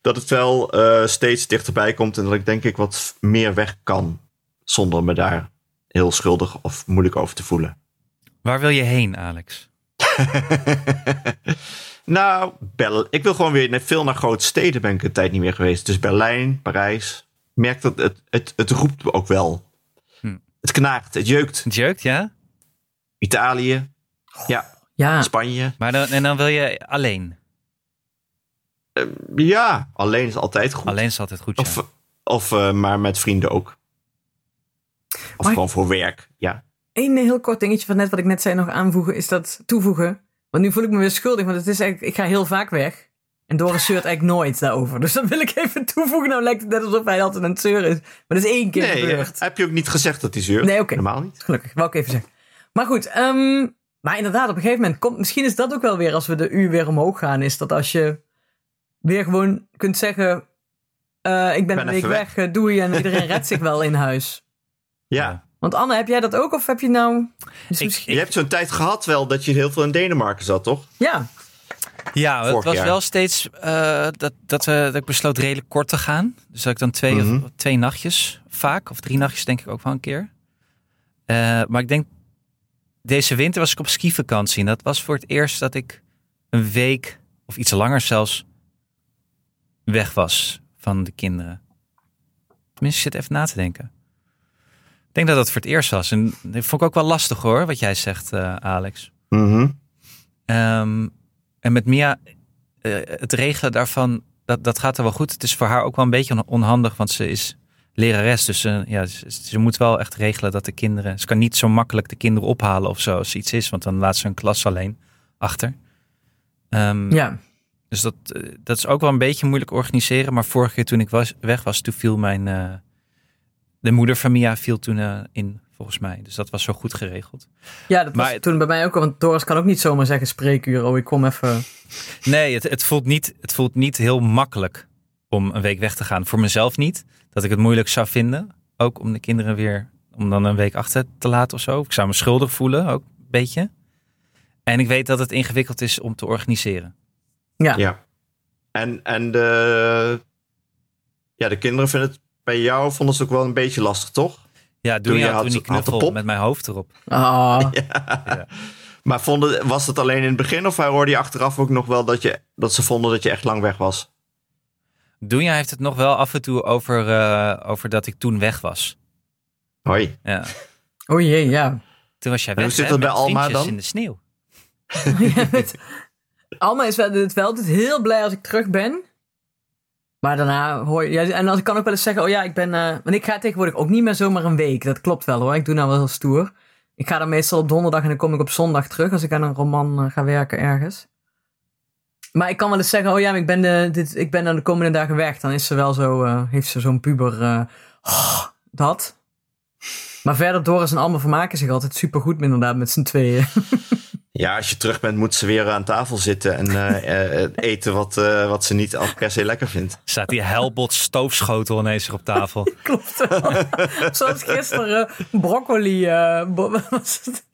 S3: dat het wel eh, steeds dichterbij komt en dat ik denk ik wat meer weg kan zonder me daar heel schuldig of moeilijk over te voelen.
S2: Waar wil je heen, Alex?
S3: *laughs* nou, Bel ik wil gewoon weer net veel naar grote steden ben ik een tijd niet meer geweest. Dus Berlijn, Parijs. Ik Merk dat het, het, het roept me ook wel.
S2: Hm.
S3: Het knaagt, het jeukt.
S2: Het jeukt, ja?
S3: Italië, ja,
S1: Ja,
S3: Spanje.
S2: Maar dan, en dan wil je alleen.
S3: Ja, alleen is altijd goed.
S2: Alleen is altijd goed, ja.
S3: Of, of eh, maar met vrienden ook. Of
S1: Maar-
S3: gewoon voor werk, ja.
S1: Eén heel kort dingetje van net wat ik net zei nog aanvoegen, is dat toevoegen. Want nu voel ik me weer schuldig, want het is eigenlijk, ik ga heel vaak weg. En Doris zeurt eigenlijk nooit daarover. Dus dat wil ik even toevoegen. Nou lijkt het net alsof hij altijd aan het zeuren is. Maar dat is één keer
S3: Nee,
S1: gebeurd.
S3: heb je ook niet gezegd dat hij zeurt?
S1: Nee, oké.
S3: Normaal niet.
S1: Gelukkig, wou ik even zeggen. Maar goed, ehm, maar inderdaad, op een gegeven moment komt... Misschien is dat ook wel weer als we de uur weer omhoog gaan. Is dat als je weer gewoon kunt zeggen... eh, ik ben,
S3: ben
S1: een week
S3: even
S1: weg, eh, doei. En iedereen redt zich wel in huis.
S3: Ja.
S1: Want Anne, heb jij dat ook? Of heb je nou... Dus
S2: Ik-
S1: misschien-
S3: Je hebt zo'n tijd gehad wel dat je heel veel in Denemarken zat, toch?
S1: Ja,
S2: Ja, het
S3: Vorig
S2: was
S3: jaar.
S2: wel steeds eh, dat, dat, eh, dat ik besloot redelijk kort te gaan. Dus dat ik dan twee,
S3: Mhm.
S2: of, twee nachtjes vaak, of drie nachtjes denk ik ook wel een keer. Eh, maar ik denk, deze winter was ik op skivakantie. En dat was voor het eerst dat ik een week, of iets langer zelfs, weg was van de kinderen. Tenminste, ik zit even na te denken. Ik denk dat dat voor het eerst was. En dat vond ik ook wel lastig hoor, wat jij zegt, eh, Alex.
S3: Mhm.
S2: Ehm, en met Mia, eh, het regelen daarvan, dat, dat gaat er wel goed. Het is voor haar ook wel een beetje on- onhandig, want ze is lerares. Dus ze, ja, ze, ze moet wel echt regelen dat de kinderen... Ze kan niet zo makkelijk de kinderen ophalen of zo als iets is. Want dan laat ze een klas alleen achter. Ehm,
S1: ja.
S2: Dus dat, eh, dat is ook wel een beetje moeilijk organiseren. Maar vorige keer toen ik was, weg was, toen viel mijn... eh, de moeder van Mia viel toen eh, in, volgens mij. Dus dat was zo goed geregeld.
S1: Ja, dat was
S2: Maar-
S1: toen bij mij ook al. Want Doris kan ook niet zomaar zeggen spreekuur. Oh, ik kom even...
S2: Nee, het, het, voelt niet, het voelt niet heel makkelijk om een week weg te gaan. Voor mezelf niet. Dat ik het moeilijk zou vinden. Ook om de kinderen weer, om dan een week achter te laten of zo. Ik zou me schuldig voelen, ook een beetje. En ik weet dat het ingewikkeld is om te organiseren.
S1: Ja.
S3: Ja. En, en de, ja, de kinderen vinden het bij jou vonden ze het ook wel een beetje lastig, toch? *laughs*
S2: Ja, doe
S3: je
S2: je
S3: had-
S2: toen die
S3: had de
S2: knuffel
S3: pop?
S2: met mijn hoofd erop.
S1: Ah,
S3: Maar vonden, was het alleen in het begin of hoorde je achteraf ook nog wel dat, je, dat ze vonden dat je echt lang weg was?
S2: Doenja heeft het nog wel af en toe over, eh, over dat ik toen weg was.
S3: Hoi.
S2: Ja.
S1: Oh jee, ja.
S2: Toen was jij
S3: En
S2: weg,
S3: hoe zit
S2: hè,
S3: dat bij
S2: met
S3: Alma
S2: vriendjes
S3: dan?
S2: in de sneeuw.
S1: Ja, met- *laughs* Alma is wel, het wel altijd heel blij als ik terug ben. Maar daarna hoor je... ja, en als ik kan ook wel eens zeggen, oh ja, ik ben... eh, want ik ga tegenwoordig ook niet meer zomaar een week. Dat klopt wel hoor. Ik doe nou wel heel stoer. Ik ga dan meestal op donderdag en dan kom ik op zondag terug. Als ik aan een roman eh, ga werken ergens. Maar ik kan wel eens zeggen, oh ja, maar ik ben, de, dit, ik ben dan de komende dagen weg. Dan is ze wel zo, eh, heeft ze zo'n puber... eh, *gasps* oh, dat. Maar verder, Doris en Alma vermaken zich altijd supergoed inderdaad met z'n tweeën.
S3: Ja, als je terug bent, moet ze weer aan tafel zitten en
S2: *laughs*
S3: eh, eh, eten wat, eh, wat ze niet al per se lekker vindt.
S2: Staat die helbot stoofschotel ineens er op tafel.
S1: Klopt wel. Zoals gisteren broccoli. eh, bo- *laughs* wat was het?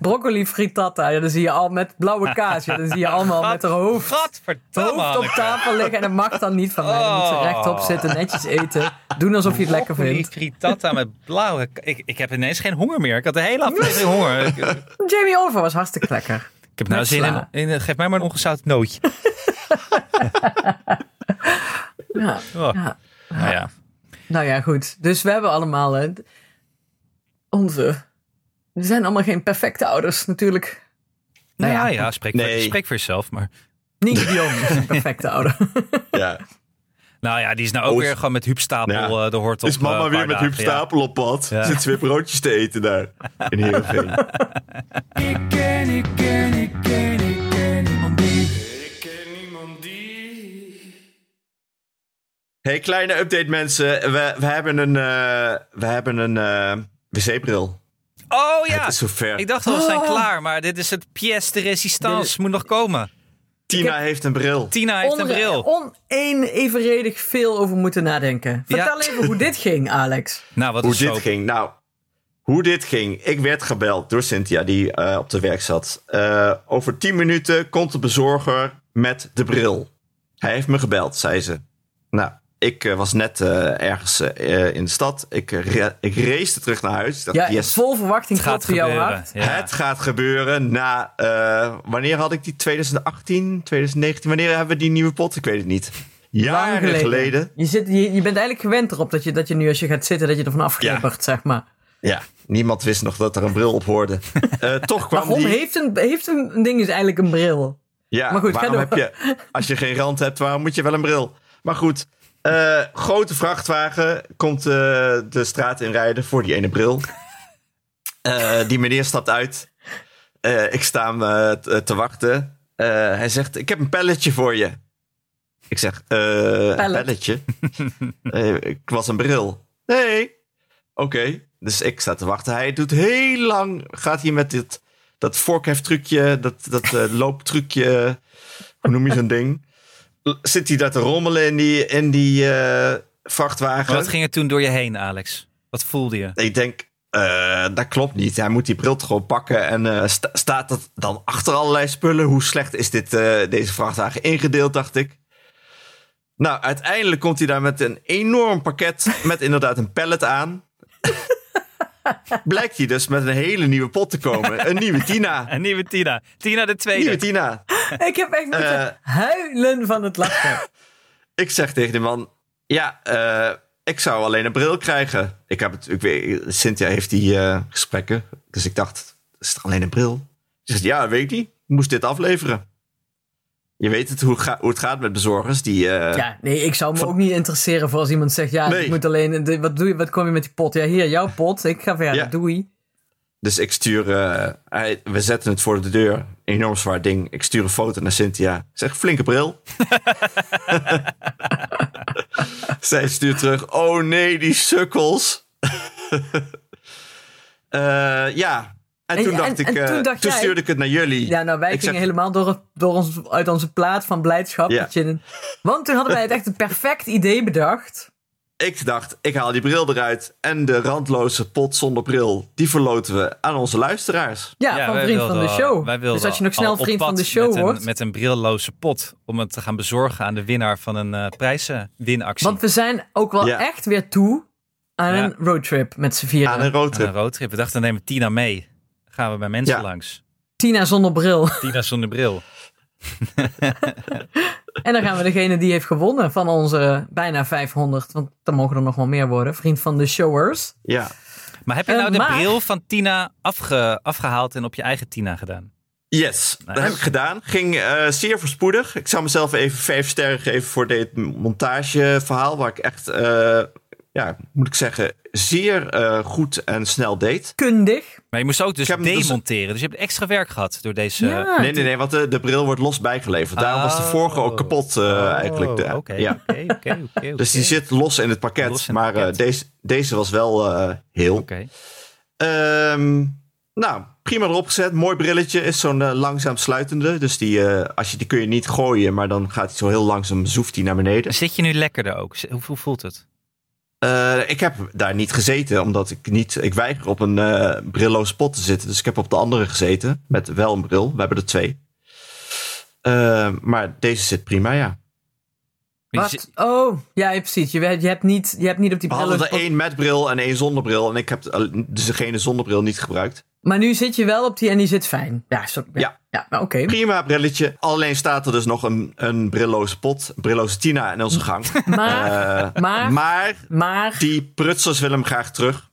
S1: broccoli frittata. Ja, dan zie je al met blauwe kaas. *laughs* Ja, dan zie je allemaal met haar hoofd,
S2: Gadverdamme,
S1: hoofd op
S2: Hanneke.
S1: tafel liggen. En dat mag dan niet van mij. Dan moet ze rechtop zitten, netjes eten. Doen alsof je het lekker
S2: Broccoli,
S1: vindt.
S2: frittata met blauwe... k- Ik, ik heb ineens geen honger meer. Ik had de hele
S1: *laughs*
S2: aflevering honger. Ik, ik
S1: Jamie Oliver was hartstikke lekker.
S2: heb nou
S1: Met
S2: zin in,
S1: sla.
S2: in- Geef mij maar een
S1: *laughs*
S2: ongezout nootje.
S1: Ja,
S2: Oh.
S1: ja.
S2: Nou ja.
S1: Nou ja, goed. Dus we hebben allemaal eh, onze We zijn allemaal geen perfecte ouders, natuurlijk.
S2: Nou ja, ja, spreek,
S3: Nee.
S2: voor, spreek voor jezelf. Maar.
S1: Niet Guillaume is een perfecte ouder.
S3: *laughs* Ja.
S2: Nou ja, die is nou ook
S3: Oh, is-
S2: weer gewoon met Huub Stapel
S3: Ja.
S2: eh, de hort op.
S3: Is mama
S2: eh, een
S3: weer
S2: paar
S3: met
S2: dagen,
S3: Huub
S2: ja.
S3: Stapel op pad?
S2: Ja.
S3: Zitten ze weer broodjes te eten
S2: *laughs*
S3: daar? In Heerenveen.
S7: Ik ken, ik ken, ik ken, ik ken niemand die. Ik ken niemand die.
S3: hey, kleine update mensen. We, we hebben een, eh, we hebben een eh, wc-bril.
S2: Oh ja,
S3: Het is zover.
S2: ik dacht al, we zijn klaar. Maar dit is het pièce de résistance. Moet nog komen.
S3: Tina heeft een bril.
S2: Tina heeft een bril.
S1: Oh. Oneverenigd veel over moeten nadenken.
S2: Ja.
S1: Vertel even hoe dit ging, Alex.
S2: Nou, wat
S3: Hoe
S2: is
S3: dit
S2: zo?
S3: ging? Nou, hoe dit ging. Ik werd gebeld door Cynthia, die eh, op de werk zat. Eh, over 10 minuten komt de bezorger met de bril. Hij heeft me gebeld, zei ze. Nou, ik eh, was net eh, ergens eh, in de stad. Ik, eh, ra- ik race terug naar huis. Ik dacht,
S1: Ja,
S3: yes,
S1: vol verwachting
S2: Het gaat
S1: gaat voor jou
S2: gebeuren.
S1: hart.
S2: Ja.
S3: Het gaat gebeuren na. eh, wanneer had ik die? 2018, 2019? Wanneer hebben we die nieuwe pot? Ik weet het niet.
S1: Lang
S3: Jaren geleden.
S1: Je, zit, je, je bent eigenlijk gewend erop dat je, dat je nu als je gaat zitten, dat je ervan afgrippert, zeg maar.
S3: Ja, niemand wist nog dat er een bril op hoorde. Eh, toch kwam
S1: Waarom
S3: die.
S1: heeft, een, heeft een ding is eigenlijk een
S3: *laughs*
S1: bril?
S3: Ja,
S1: Maar goed, ga
S3: waarom heb
S1: door.
S3: je, als je geen rand hebt, waarom moet je wel een bril? Maar goed, eh, grote vrachtwagen komt eh, de straat inrijden voor die ene
S1: *laughs*
S3: bril. Eh, die meneer stapt uit. Eh, ik sta hem eh, t- te wachten. Eh, hij zegt, ik heb een pelletje voor je. Ik zeg, eh, een
S1: Pallet.
S3: pelletje? *laughs* Eh, ik was een bril. Nee. Oké, dus ik sta te wachten. Hij doet heel lang, gaat hij met dit, dat vorkheftrucje, dat, dat eh, looptrucje, hoe noem je zo'n ding? L- Zit hij daar te rommelen in die, in die eh, vrachtwagen?
S2: Wat ging er toen door je heen, Alex? Wat voelde je?
S3: Ik denk, eh, dat klopt niet. Hij moet die bril toch gewoon pakken. En eh, sta- staat dat dan achter allerlei spullen? Hoe slecht is dit, eh, deze vrachtwagen ingedeeld, dacht ik. Nou, uiteindelijk komt hij daar met een enorm pakket met inderdaad een pallet aan. Blijkt hij dus met een hele nieuwe pot te komen. Een nieuwe Tina.
S2: Een nieuwe Tina. Tina de tweede.
S3: Nieuwe Tina.
S1: Ik heb echt moeten
S3: Eh.
S1: huilen van het
S3: *laughs*
S1: lachen.
S3: Ik zeg tegen die man: Ja, eh, ik zou alleen een bril krijgen. Ik heb het, ik weet, Cynthia heeft die eh, gesprekken. Dus ik dacht: Is het alleen een bril? Ze zegt: Ja, weet ik niet. Ik moest dit afleveren. Je weet het, hoe, ga- hoe het gaat met bezorgers. Die, eh,
S1: Ja, nee, ik zou me ook niet interesseren voor als iemand zegt: Ja,
S3: Nee.
S1: ik moet alleen. de- Wat, doe je, wat kom je met die pot? Ja, hier, jouw pot. Ik ga verder.
S3: Ja.
S1: Doei.
S3: Dus ik stuur, eh, hij- we zetten het voor de deur. Enorm zwaar ding. Ik stuur een foto naar Cynthia. Ik zeg,
S1: *laughs*
S3: flinke bril. Zij stuurt terug, oh nee, die sukkels. *laughs* Eh, ja, en,
S1: En-
S3: toen dacht
S1: en-
S3: ik,
S1: en
S3: eh,
S1: toen
S3: toen,
S1: dacht jij-
S3: stuurde ik het naar jullie.
S1: Ja, nou, wij
S3: Ik
S1: gingen
S3: zeg-
S1: helemaal door, het- door ons, uit onze plaat van blijdschap.
S3: Ja.
S1: dat je- want toen hadden wij het echt een perfect idee bedacht.
S3: Ik dacht, ik haal die bril eruit. En de randloze pot zonder bril, die verloten we aan onze luisteraars.
S1: Ja, van
S2: wij
S1: Vriend
S2: wilden
S1: van de
S2: al-
S1: Show.
S2: wij wilden
S1: dus als je nog
S2: al
S1: snel
S2: op
S1: Vriend
S2: pad
S1: van de Show
S2: met
S1: wordt.
S2: Een, met een brilloze pot. Om het te gaan bezorgen aan de winnaar van een eh, prijzenwinactie.
S1: Want we zijn ook wel
S3: Ja.
S1: echt weer toe aan
S2: Ja.
S1: een roadtrip met z'n vieren.
S3: Aan een roadtrip.
S2: Aan een roadtrip. We dachten, dan nemen we Tina mee. Gaan we bij mensen
S3: Ja.
S2: langs.
S1: Tina zonder bril. *laughs*
S2: Tina zonder bril.
S1: En dan gaan we degene die heeft gewonnen van onze bijna 500, want dan mogen er nog wel meer worden, vriend van de showers.
S3: Ja.
S2: Maar heb je
S1: Eh,
S2: nou de
S1: maar-
S2: bril van Tina afge- afgehaald en op je eigen Tina gedaan?
S3: Yes, dat heb ik gedaan. Ging eh, zeer voorspoedig. Ik zou mezelf even vijf sterren geven voor dit montageverhaal. Waar ik echt, eh, ja, moet ik zeggen, zeer eh, goed en snel deed.
S1: Kundig.
S2: Maar je moest ook dus
S3: Ik heb hem dus-
S2: demonteren. Dus... je hebt extra werk gehad door deze...
S1: ja,
S3: Nee, nee, nee, want de, de bril wordt los bijgeleverd. Daarom was de
S2: Ah, Oh.
S3: vorige ook kapot eh,
S2: Oh,
S3: eigenlijk. De-
S2: Oké,
S3: ja.
S2: oké, oké, oké,
S1: *laughs*
S2: oké.
S3: Dus die zit los in het pakket.
S2: Los in het
S3: maar eh,
S2: pakket.
S3: deze, deze was wel eh, heel.
S2: Oké.
S3: Ehm, nou, prima erop gezet. Mooi brilletje. Is zo'n eh, langzaam sluitende. Dus die, eh, als je, die kun je niet gooien, maar dan gaat hij zo heel langzaam, zoeft hij naar beneden.
S2: Zit je nu lekkerder ook? Hoe, hoe voelt het?
S3: Eh, ik heb daar niet gezeten, omdat ik niet. Ik weiger op een eh brilloos pot te zitten. Dus ik heb op de andere gezeten. Met wel een bril. We hebben er twee. Eh, maar deze zit prima, ja.
S2: Je
S1: Wat?
S2: zit-
S1: Oh, ja, ja, precies. Je, je, hebt niet, je hebt niet op die
S3: We hadden
S1: bril.
S3: er één met bril en één zonder bril. En ik heb de- dus degene zonder bril niet gebruikt.
S1: Maar nu zit je wel op die en die zit fijn. Ja, zo, ja.
S3: Ja.
S1: ja. maar oké.
S3: Prima brilletje. Alleen staat er dus nog een, een brilloze pot. een Brilloze Tina in onze gang.
S1: Maar,
S3: Eh,
S1: maar,
S3: maar
S1: maar,
S3: die prutsers willen hem graag terug.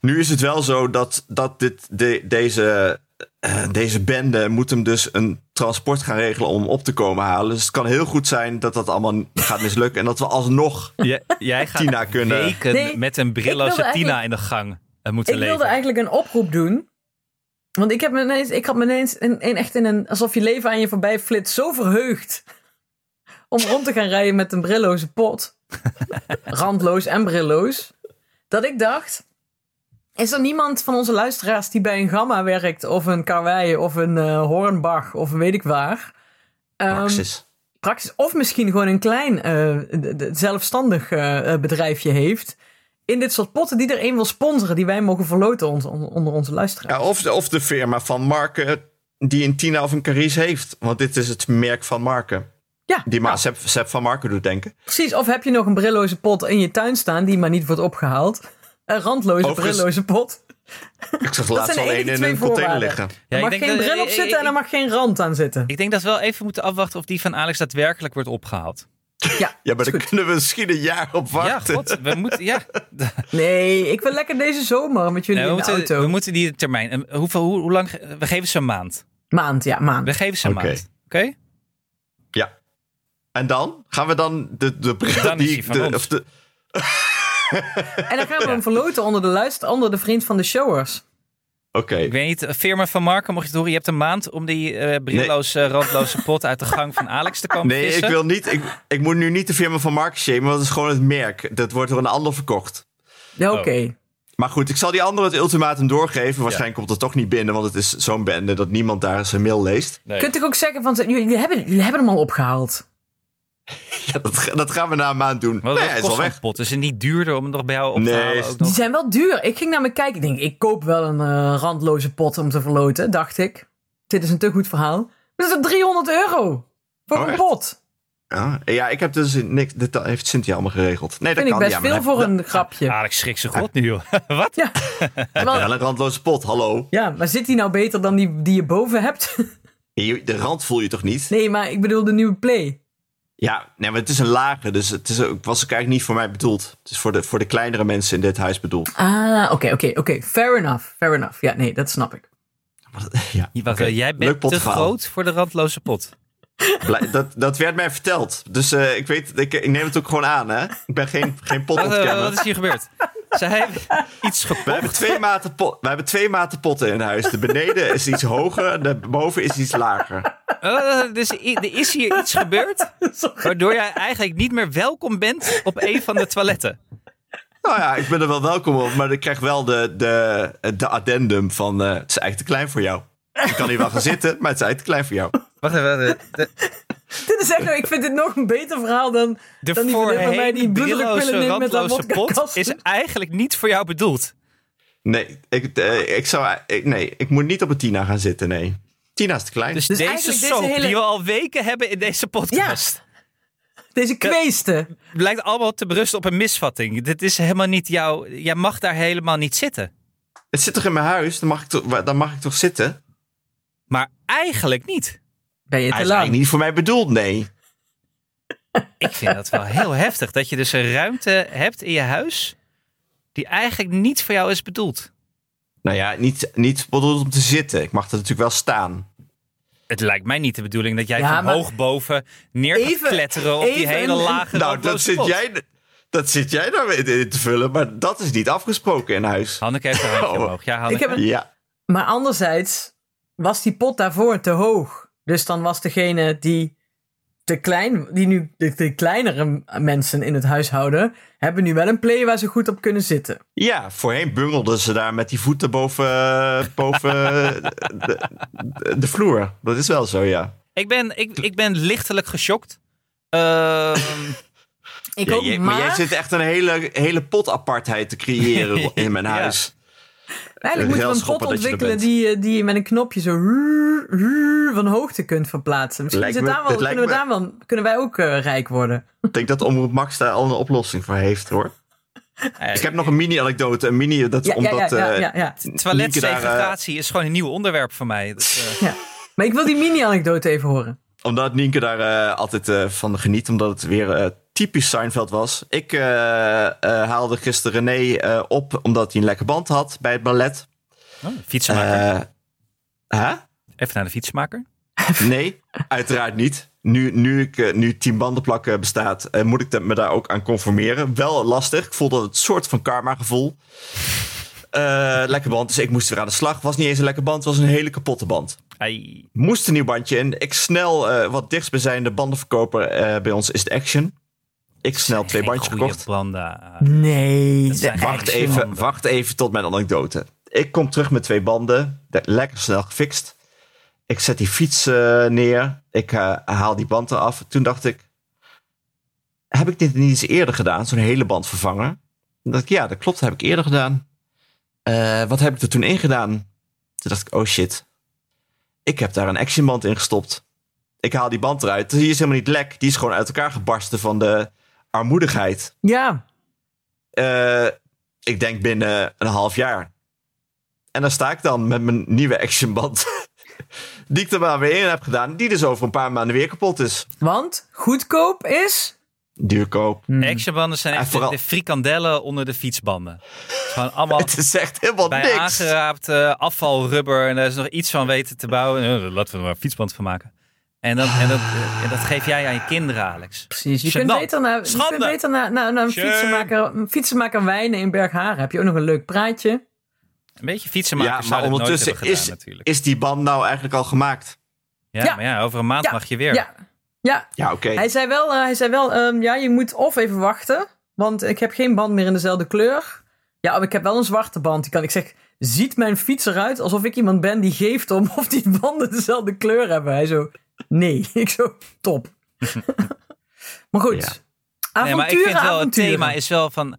S3: Nu is het wel zo dat, dat dit, de- deze, eh, deze bende moet hem dus een transport gaan regelen om hem op te komen halen. Dus het kan heel goed zijn dat dat allemaal gaat mislukken. En dat we alsnog...
S2: J- jij gaat
S3: Tina kunnen.
S2: weken
S1: Nee,
S2: met een
S1: ik
S2: brilloze
S1: wilde
S2: Tina in de gang eh, moeten
S1: Ik wilde
S2: leven.
S1: eigenlijk een oproep doen. Want ik, heb me ineens, ik had me ineens in, in echt in een. alsof je leven aan je voorbij flitst. zo verheugd. om rond te gaan rijden met een brilloze pot. *laughs* Randloos en brilloos. Dat ik dacht. Is er niemand van onze luisteraars die bij een Gamma werkt. of een Karwei of een eh, Hornbach of weet ik waar? Ehm,
S3: Praxis.
S1: praktisch. Of misschien gewoon een klein eh, d- d- zelfstandig eh, eh, bedrijfje heeft. In dit soort potten die er een wil sponsoren. Die wij mogen verloten on- on- onder onze luisteraars.
S3: Ja, of, of de firma van Marken die een Tina of een Caries heeft. Want dit is het merk van Marken.
S1: Ja,
S3: Die maar Sepp, Sepp van Marken doet denken.
S1: precies. Of heb je nog een brilloze pot in je tuin staan. Die maar niet wordt opgehaald. Een randloze
S3: Overigens-
S1: brilloze pot.
S3: Ik zag
S1: Dat
S3: laatst
S1: zijn
S3: al
S1: de
S3: één
S1: enige
S3: in
S1: twee
S3: een container
S1: voorwaarden.
S3: liggen.
S1: Er
S2: ik
S1: mag
S2: denk
S1: geen
S2: dat-
S1: bril op
S2: ik-
S1: zitten en er
S2: ik-
S1: mag geen rand aan zitten.
S2: Ik denk dat we wel even moeten afwachten of die van Alex daadwerkelijk wordt opgehaald.
S1: Ja,
S3: Ja, maar
S1: is
S3: daar
S1: goed.
S3: kunnen we misschien een jaar op
S2: Ja,
S3: wachten.
S2: god, we
S1: *laughs*
S2: moeten, ja.
S1: Nee, ik wil lekker deze zomer met jullie
S2: Nee, we,
S1: in de
S2: moeten,
S1: auto.
S2: we moeten die termijn. en Hoeveel, hoe, hoe lang? ge- We geven ze een maand.
S1: Maand, ja, maand.
S2: We geven ze een
S3: Oké.
S2: maand. Oké?
S3: Ja. En dan gaan we dan de, de bril
S2: Dan is
S3: die
S2: die
S3: ik
S2: van
S3: de-
S2: ons.
S3: of de-
S1: En dan
S2: *laughs*
S1: gaan we hem verloten onder de, luister, onder de vriend van de showers.
S3: Oké.
S2: Ik weet niet, eh, firma van Marco, mocht je het horen, je hebt een maand om die eh, brilloze, randloze pot uit de gang van Alex te komen
S3: Nee, ik
S2: vissen.
S3: wil niet. Ik, ik moet nu niet de firma van Marken shamen, want dat is gewoon het merk. Dat wordt door een ander verkocht.
S1: Ja,
S2: Oh,
S1: Oké.
S3: Maar goed, ik zal die andere het ultimatum doorgeven. Waarschijnlijk komt dat toch niet binnen, want het is zo'n bende dat niemand daar zijn mail leest.
S2: Nee.
S1: Kunt ik ook zeggen van, jullie jullie hebben, jullie hebben hem al opgehaald.
S3: Ja, *laughs* dat, ga- dat gaan we na een maand doen.
S2: Wat,
S3: nee,
S2: wat
S3: hij is
S2: kost
S3: al
S2: zo'n
S3: weg.
S2: pot? Is het niet duurder om hem nog bij jou op te
S3: Nee,
S2: halen?
S3: is-
S2: ook
S1: Die
S2: nog?
S1: zijn wel duur. Ik ging naar mijn kijken. Ik denk, ik koop wel een eh, randloze pot om te verloten, dacht ik. Dit is een te goed verhaal. Dat is een 300 euro voor
S3: Oh,
S1: een
S3: echt?
S1: pot.
S3: Ja, ja, ik heb dus niks. Dit heeft Cynthia allemaal geregeld. Nee, dat
S1: Vind ik
S3: kan
S1: best
S3: ja, maar
S1: veel
S3: heb-
S1: voor
S3: dat-
S1: een grapje.
S2: Alex schrikt zijn god nu, joh. *laughs* Wat?
S3: *laughs*
S1: Ja.
S3: Wel
S1: Terwijl-
S3: een randloze pot, hallo.
S1: ja, maar zit die nou beter dan die die je boven hebt? *laughs*
S3: Je- De rand voel je toch niet?
S1: nee, maar ik bedoel de nieuwe play.
S3: Ja, nee, maar het is een lage, dus het is, ook- was ook eigenlijk niet voor mij bedoeld. Het is voor de, voor de kleinere mensen in dit huis bedoeld.
S1: Ah, oké, oké, oké. Fair enough, fair enough. Ja, nee, dat snap ik. *laughs*
S3: Maar dat- Ja,
S2: Wacht,
S3: oké.
S2: eh, jij
S3: Leuk
S2: bent te
S3: potverhaal.
S2: groot voor de randloze pot.
S3: Blij- dat, dat werd mij verteld. Dus eh, ik weet, ik, ik neem het ook gewoon aan, hè? Ik ben geen, geen pot
S2: Wat, eh,
S3: ontkenner.
S2: wat is hier
S1: *laughs*
S2: gebeurd? Zij hebben iets
S3: We hebben,
S2: gekocht.
S3: twee maten pot, we hebben twee maten potten in huis. De beneden is iets hoger, en de boven is iets lager.
S2: Eh, dus i- er is hier iets
S1: *laughs*
S2: gebeurd waardoor jij eigenlijk niet meer welkom bent op een van de toiletten.
S3: Nou ja, ik ben er wel welkom op, maar ik krijg wel de, de, de addendum van eh, het is eigenlijk te klein voor jou. Ik kan hier wel gaan zitten, maar het is eigenlijk te klein voor jou.
S2: Wacht even. wacht even.
S1: Dit is echt, nou, ik vind dit nog een beter verhaal dan,
S2: De
S1: dan die vriendin van mij die
S2: voorheen
S1: bloederlijk pillen
S2: brilloze,
S1: neemt met haar
S2: randloze pot
S1: wodka-kast.
S2: is eigenlijk niet voor jou bedoeld.
S3: Nee, ik, eh, ik zou, ik- nee, ik moet niet op een Tina gaan zitten, nee. Tina is te klein.
S2: Dus, deze
S1: eigenlijk deze
S2: soap
S1: hele-
S2: die we al weken hebben in deze
S1: Ja,
S2: podcast...
S1: deze kweesten.
S2: blijkt allemaal te berusten op een misvatting. Dit is helemaal niet jouw... Jij mag daar helemaal niet zitten.
S3: Het zit toch in mijn huis, dan mag ik toch, wa- dan mag ik toch zitten?
S2: Maar eigenlijk niet.
S1: Ben je
S3: Hij
S1: te
S3: is
S1: lang?
S3: eigenlijk niet voor mij bedoeld, nee.
S2: Ik vind dat wel heel heftig. Dat je dus een ruimte hebt in je huis... die eigenlijk niet voor jou is bedoeld.
S3: Nou ja, niet, niet bedoeld om te zitten. Ik mag er natuurlijk wel staan.
S2: Het lijkt mij niet de bedoeling dat jij
S1: Ja,
S2: van
S1: maar-
S2: hoog boven neer gaat
S1: Even-
S2: kletteren... op die
S1: even
S2: hele
S1: een-
S2: lage
S3: nou,
S2: randloze
S3: dat zit,
S2: pot.
S3: jij, dat zit jij daar weer in te vullen, maar dat is niet afgesproken in huis.
S2: Hanneke heeft haar handje
S3: Oh.
S2: omhoog. Ja, Hanneke.
S1: Ik heb een-
S3: Ja,
S1: Maar anderzijds was die pot daarvoor te hoog. Dus dan was degene die, te klein, die nu de, de kleinere mensen in het huishouden, hebben nu wel een play waar ze goed op kunnen zitten.
S3: ja, voorheen bungelden ze daar met die voeten boven,
S2: *laughs*
S3: boven de, de- de vloer. Dat is wel zo, ja.
S2: Ik ben, ik, ik ben lichtelijk
S3: *laughs*
S2: geschokt. Ehm,
S1: Ik
S3: Ja,
S1: ook,
S3: jij-
S1: maar,
S3: jij zit echt een hele, hele potapartheid te
S1: *laughs*
S3: creëren in mijn
S2: Ja.
S3: huis.
S1: eigenlijk moeten we een pot
S3: railschoppen dat je er
S1: ontwikkelen
S3: bent.
S1: die, je- die je met een knopje zo ruur, ruur van hoogte kunt verplaatsen. Misschien
S3: Lijkt
S1: zit
S3: me-
S1: daar wel,
S3: dat
S1: kunnen,
S3: lijkt
S1: we
S3: me-
S1: daar
S3: Dus
S1: wel, kunnen wij ook eh, rijk worden.
S3: Ik denk dat Omroep Max daar al een oplossing voor heeft, hoor. Ik heb nog een mini-anekdote. Een mini, dat,
S1: Eh, Ja, ja, ja,
S3: omdat
S1: ja,
S3: eh,
S1: ja, ja.
S3: Nienke daar, eh,
S2: Toiletsegregatie is gewoon een nieuw onderwerp voor mij. Dat, eh,
S3: *laughs*
S1: ja. Maar ik wil die mini-anekdote even horen.
S3: Omdat Nienke daar eh, altijd eh, van geniet, omdat het weer eh, typisch Seinfeld was. Ik eh, eh, haalde gisteren René eh, op omdat hij een lekker band had bij het ballet.
S2: Oh, fietsenmaker.
S3: Eh hè?
S2: Even naar de fietsenmaker.
S3: Nee, uiteraard niet. Nu, nu, ik, eh, nu tien banden plakken bestaat, eh, moet ik dat- me daar ook aan conformeren. Wel lastig. Ik voelde het soort van karma gevoel. Eh, lekker band, dus ik moest weer aan de slag. Was niet eens een lekker band, was een hele kapotte band.
S2: Ai.
S3: Moest een nieuw bandje in. Ik snel, eh, wat dichtstbijzijnde bandenverkoper eh, bij ons is de Action. Ik snel twee
S2: Geen
S3: bandjes
S2: goeie
S3: gekocht.
S2: Branda.
S1: Nee.
S2: Dat zijn
S3: Wacht
S2: action
S3: even,
S2: handen.
S3: wacht even tot mijn anekdote. Ik kom terug met twee banden. de- Lekker snel gefixt. Ik zet die fiets eh, neer. Ik eh, haal die band eraf. Toen dacht ik... Heb ik dit niet eens eerder gedaan? Zo'n hele band vervangen? Toen dacht ik, ja, dat klopt. Dat heb ik eerder gedaan. Eh, wat heb ik er toen in gedaan? Toen dacht ik, oh shit. Ik heb daar een actionband in gestopt. Ik haal die band eruit. Die is helemaal niet lek. Die is gewoon uit elkaar gebarsten van de armoedigheid.
S1: Ja.
S3: Eh, ik denk binnen een half jaar. En daar sta ik dan met mijn nieuwe actionband. *laughs* die ik er maar weer in heb gedaan. Die dus over een paar maanden weer kapot is.
S1: Want goedkoop is...
S3: Duurkoop.
S1: Hmm.
S2: Actionbanden zijn
S3: En
S2: echt
S3: vooral-
S2: de frikandellen onder de fietsbanden. Het is Gewoon allemaal
S3: *laughs* *laughs* Het is echt helemaal
S2: bij
S3: niks.
S2: aangeraapt eh, afvalrubber en daar is nog iets van weten te bouwen. Eh, laten we er maar een fietsband van maken. En, dan, en, dat, eh, en dat geef jij aan je kinderen, Alex.
S1: Precies. Je kunt
S2: Gênant.
S1: beter naar, je
S2: Schande.
S1: kunt beter naar, naar, naar een,
S2: Shame.
S1: fietsenmaker, een fietsenmaker wijnen in Bergharen. Heb je ook nog een leuk praatje?
S2: Een beetje fietsenmaker
S3: Ja,
S2: zou
S3: maar
S2: dat nooit hebben
S3: ondertussen
S2: gedaan
S3: is,
S2: natuurlijk.
S3: is die band nou eigenlijk al gemaakt.
S2: Ja,
S1: Ja.
S2: maar ja, over een maand
S1: Ja.
S2: mag je weer.
S1: Ja. Ja,
S3: Ja, oké.
S1: Hij zei wel, eh, hij zei wel ehm, ja, je moet of even wachten, want ik heb geen band meer in dezelfde kleur. Ja, maar ik heb wel een zwarte band. Die kan, ik zeg, ziet mijn fiets eruit alsof ik iemand ben die geeft om of die banden dezelfde kleur hebben? Hij zo, nee. *laughs* Ik zo,
S2: *laughs*
S1: top. maar goed,
S3: Ja.
S2: Nee,
S1: avonturen,
S2: maar ik vind wel, het
S1: avonturen.
S2: thema is wel van...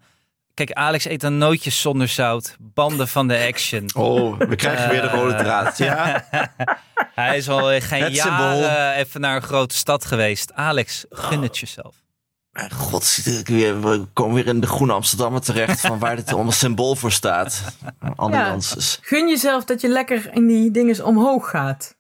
S2: Kijk, Alex eet dan nootjes zonder zout. Banden van de action.
S3: Oh, we krijgen weer de rode
S2: Eh.
S3: draad.
S2: *laughs*
S3: Ja,
S2: Hij is al eh,
S3: *laughs*
S2: geen
S3: Het
S2: jaren
S3: symbool.
S2: eh, even naar een grote stad geweest. Alex, gun het jezelf.
S3: Mijn god, zit ik weer- we komen weer in de groene Amsterdammer terecht... van waar dit allemaal symbool voor staat. Ambulances.
S1: Gun jezelf dat je lekker in die dinges omhoog gaat.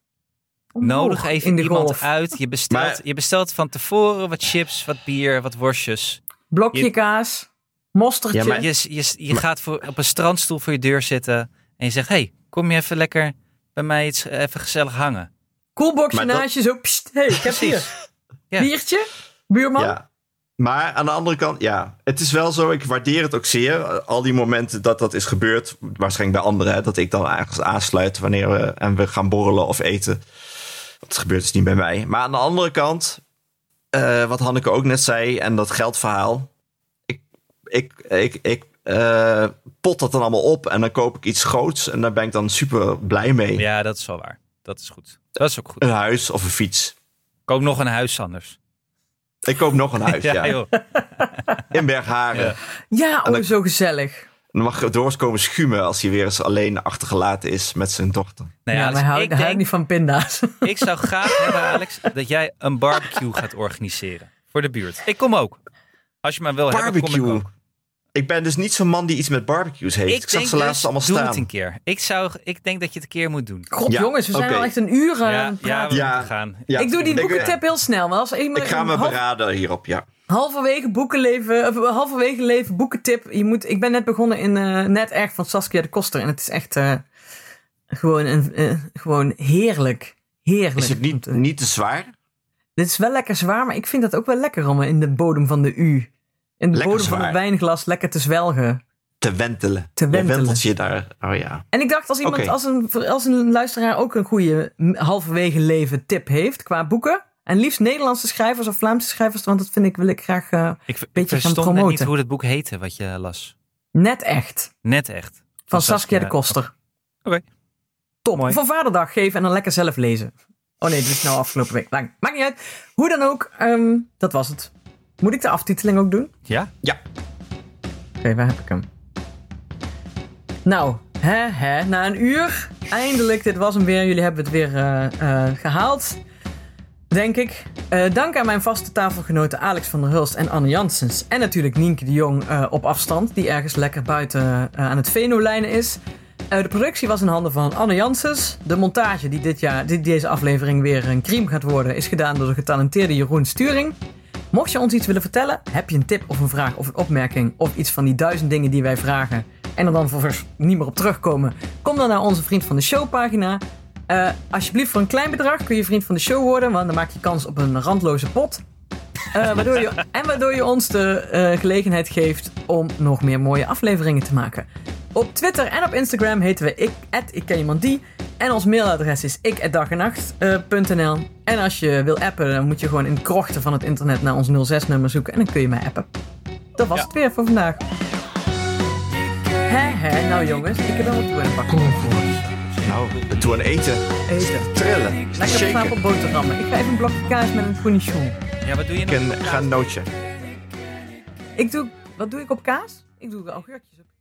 S1: Omhoog
S2: Nodig even
S1: in de
S2: iemand
S1: golf.
S2: uit. Je bestelt,
S3: Maar-
S2: je bestelt van tevoren wat chips, wat bier, wat worstjes.
S1: Blokje
S2: Je-
S1: kaas, mosterdje.
S3: Ja, maar
S2: Je, je, je gaat voor, op een strandstoel voor je deur zitten. En je zegt, hey, kom je even lekker bij mij iets, eh, even gezellig hangen.
S1: Koelboxje
S3: Maar dat-
S1: naast je, zo, pst, hey, ik heb hier.
S2: Ja.
S1: Biertje, buurman.
S3: Ja. Maar aan de andere kant, ja, het is wel zo. Ik waardeer het ook zeer. Al die momenten dat dat is gebeurd, waarschijnlijk bij anderen, hè, dat ik dan ergens aansluit wanneer we en we gaan borrelen of eten. Dat gebeurt dus niet bij mij. Maar aan de andere kant, eh, wat Hanneke ook net zei en dat geldverhaal. Ik, ik, ik, ik eh, pot dat dan allemaal op en dan koop ik iets groots en daar ben ik dan super blij mee.
S2: Ja, dat is wel waar. Dat is goed. Dat is ook goed.
S3: Een huis of een fiets.
S2: Koop nog een huis anders.
S3: Ik koop nog
S2: *laughs*
S3: een huis, ja.
S2: joh.
S3: In Bergharen.
S2: Ja.
S1: Ja,
S3: En
S1: oh,
S3: dan- Nou
S1: zo gezellig.
S3: Dan mag Doors komen schuimen als hij weer eens alleen achtergelaten is met zijn dochter.
S2: Nee,
S1: ja,
S3: dus
S2: Alex,
S1: maar hou,
S2: ik
S1: ik hou
S2: denk,
S1: ik niet van pinda's. *laughs*
S2: ik zou graag hebben, Alex, dat jij een barbecue gaat organiseren. Voor de buurt. Ik kom ook. Als je maar wil hebben, kom ik
S3: Barbecue.
S2: ook.
S3: Ik ben dus niet zo'n man die iets met barbecues heeft. Ik, zag
S2: denk
S3: ze laatst
S2: dus,
S3: allemaal
S2: doe
S3: staan.
S2: het een keer. Ik, zou, ik denk dat je het een keer moet doen.
S1: God,
S3: Ja,
S1: jongens, we zijn
S3: oké.
S1: al echt een uur eh, aan
S2: ja,
S1: het
S2: ja,
S1: praten.
S2: we
S3: Ja.
S2: moeten gaan.
S3: Ja.
S1: ik doe die
S3: Ik- eh,
S1: boekentap heel snel. Maar als iemand
S3: Ik ga me
S1: half-
S3: beraden hierop, ja.
S1: halverwege boekenleven, of eh, halverwege leven boekentip. Je moet, ik ben net begonnen in eh, Net Erg van Saskia de Koster. En het is echt eh, gewoon, een, eh, gewoon heerlijk. Heerlijk.
S3: Is het niet,
S1: Om te-
S3: niet te zwaar?
S1: Dit is wel lekker zwaar, maar ik vind dat ook wel lekker om eh, in de bodem van de U. In de
S3: Lekker
S1: bodem van
S3: zwaar.
S1: het wijnglas lekker te zwelgen.
S3: Te wentelen.
S1: Te
S3: Je
S1: wentelen.
S3: wentelt je daar. Oh ja.
S1: En ik dacht, als iemand,
S3: Oké.
S1: als, een, als een luisteraar ook een goede m- halverwege leven tip heeft qua boeken. En liefst Nederlandse schrijvers of Vlaamse schrijvers, want dat vind ik, wil ik graag eh,
S2: Ik, v- ik
S1: Beetje gaan
S2: verstond net niet
S1: promoten.
S2: hoe dat boek heette wat je las.
S1: net echt. Van,
S2: Net echt. Van,
S1: Saskia, de Koster.
S2: Oké.
S1: Top.
S2: Mooi.
S1: Voor Vaderdag geven en dan lekker zelf lezen. Oh nee, dit is nou afgelopen week. Maakt, maakt niet uit. Hoe dan ook, ehm, dat was het. Moet ik de aftiteling ook doen?
S2: Ja?
S3: Ja,
S1: Oké, waar heb ik hem? Nou, hè, hè, na een uur. Eindelijk, dit was hem weer. Jullie hebben het weer eh, eh, gehaald. Denk ik. Eh, dank aan mijn vaste tafelgenoten Alex van der Hulst en Anne Janssens. En natuurlijk Nienke de Jong eh, op afstand, die ergens lekker buiten eh, aan het venolijnen is. Eh, de productie was in handen van Anne Janssens. De montage, die, dit jaar, die deze aflevering weer een crime gaat worden, is gedaan door de getalenteerde Jeroen Sturing. Mocht je ons iets willen vertellen, heb je een tip of een vraag of een opmerking of iets van die duizend dingen die wij vragen en er dan vervolgens niet meer op terugkomen, kom dan naar onze Vriend van de Show pagina. Eh, alsjeblieft, voor een klein bedrag kun je Vriend van de Show worden, want dan maak je kans op een randloze pot. Eh, waardoor je, en waardoor je ons de eh, gelegenheid geeft om nog meer mooie afleveringen te maken. Op Twitter en op Instagram heten we ik, ik ken iemand die. En ons mailadres is eh, ik@dagennacht.nl. en als je wil appen, dan moet je gewoon in de krochten van het internet naar ons 06-nummer zoeken. En dan kun je mij appen. Dat was het weer voor vandaag. Hè, hè, nou jongens, ik heb wel wat toe aan de bak.
S3: Nou, toe aan eten.
S1: Eten.
S3: Trillen.
S1: Lekker een
S3: Shaken.
S1: stapel boterhammen. Ik ga even een blokje kaas met een cornichon.
S2: Ja, wat doe je nou?
S3: En ga een nootje.
S1: Ik doe, wat doe ik op kaas? Ik doe augurkjes op kaas.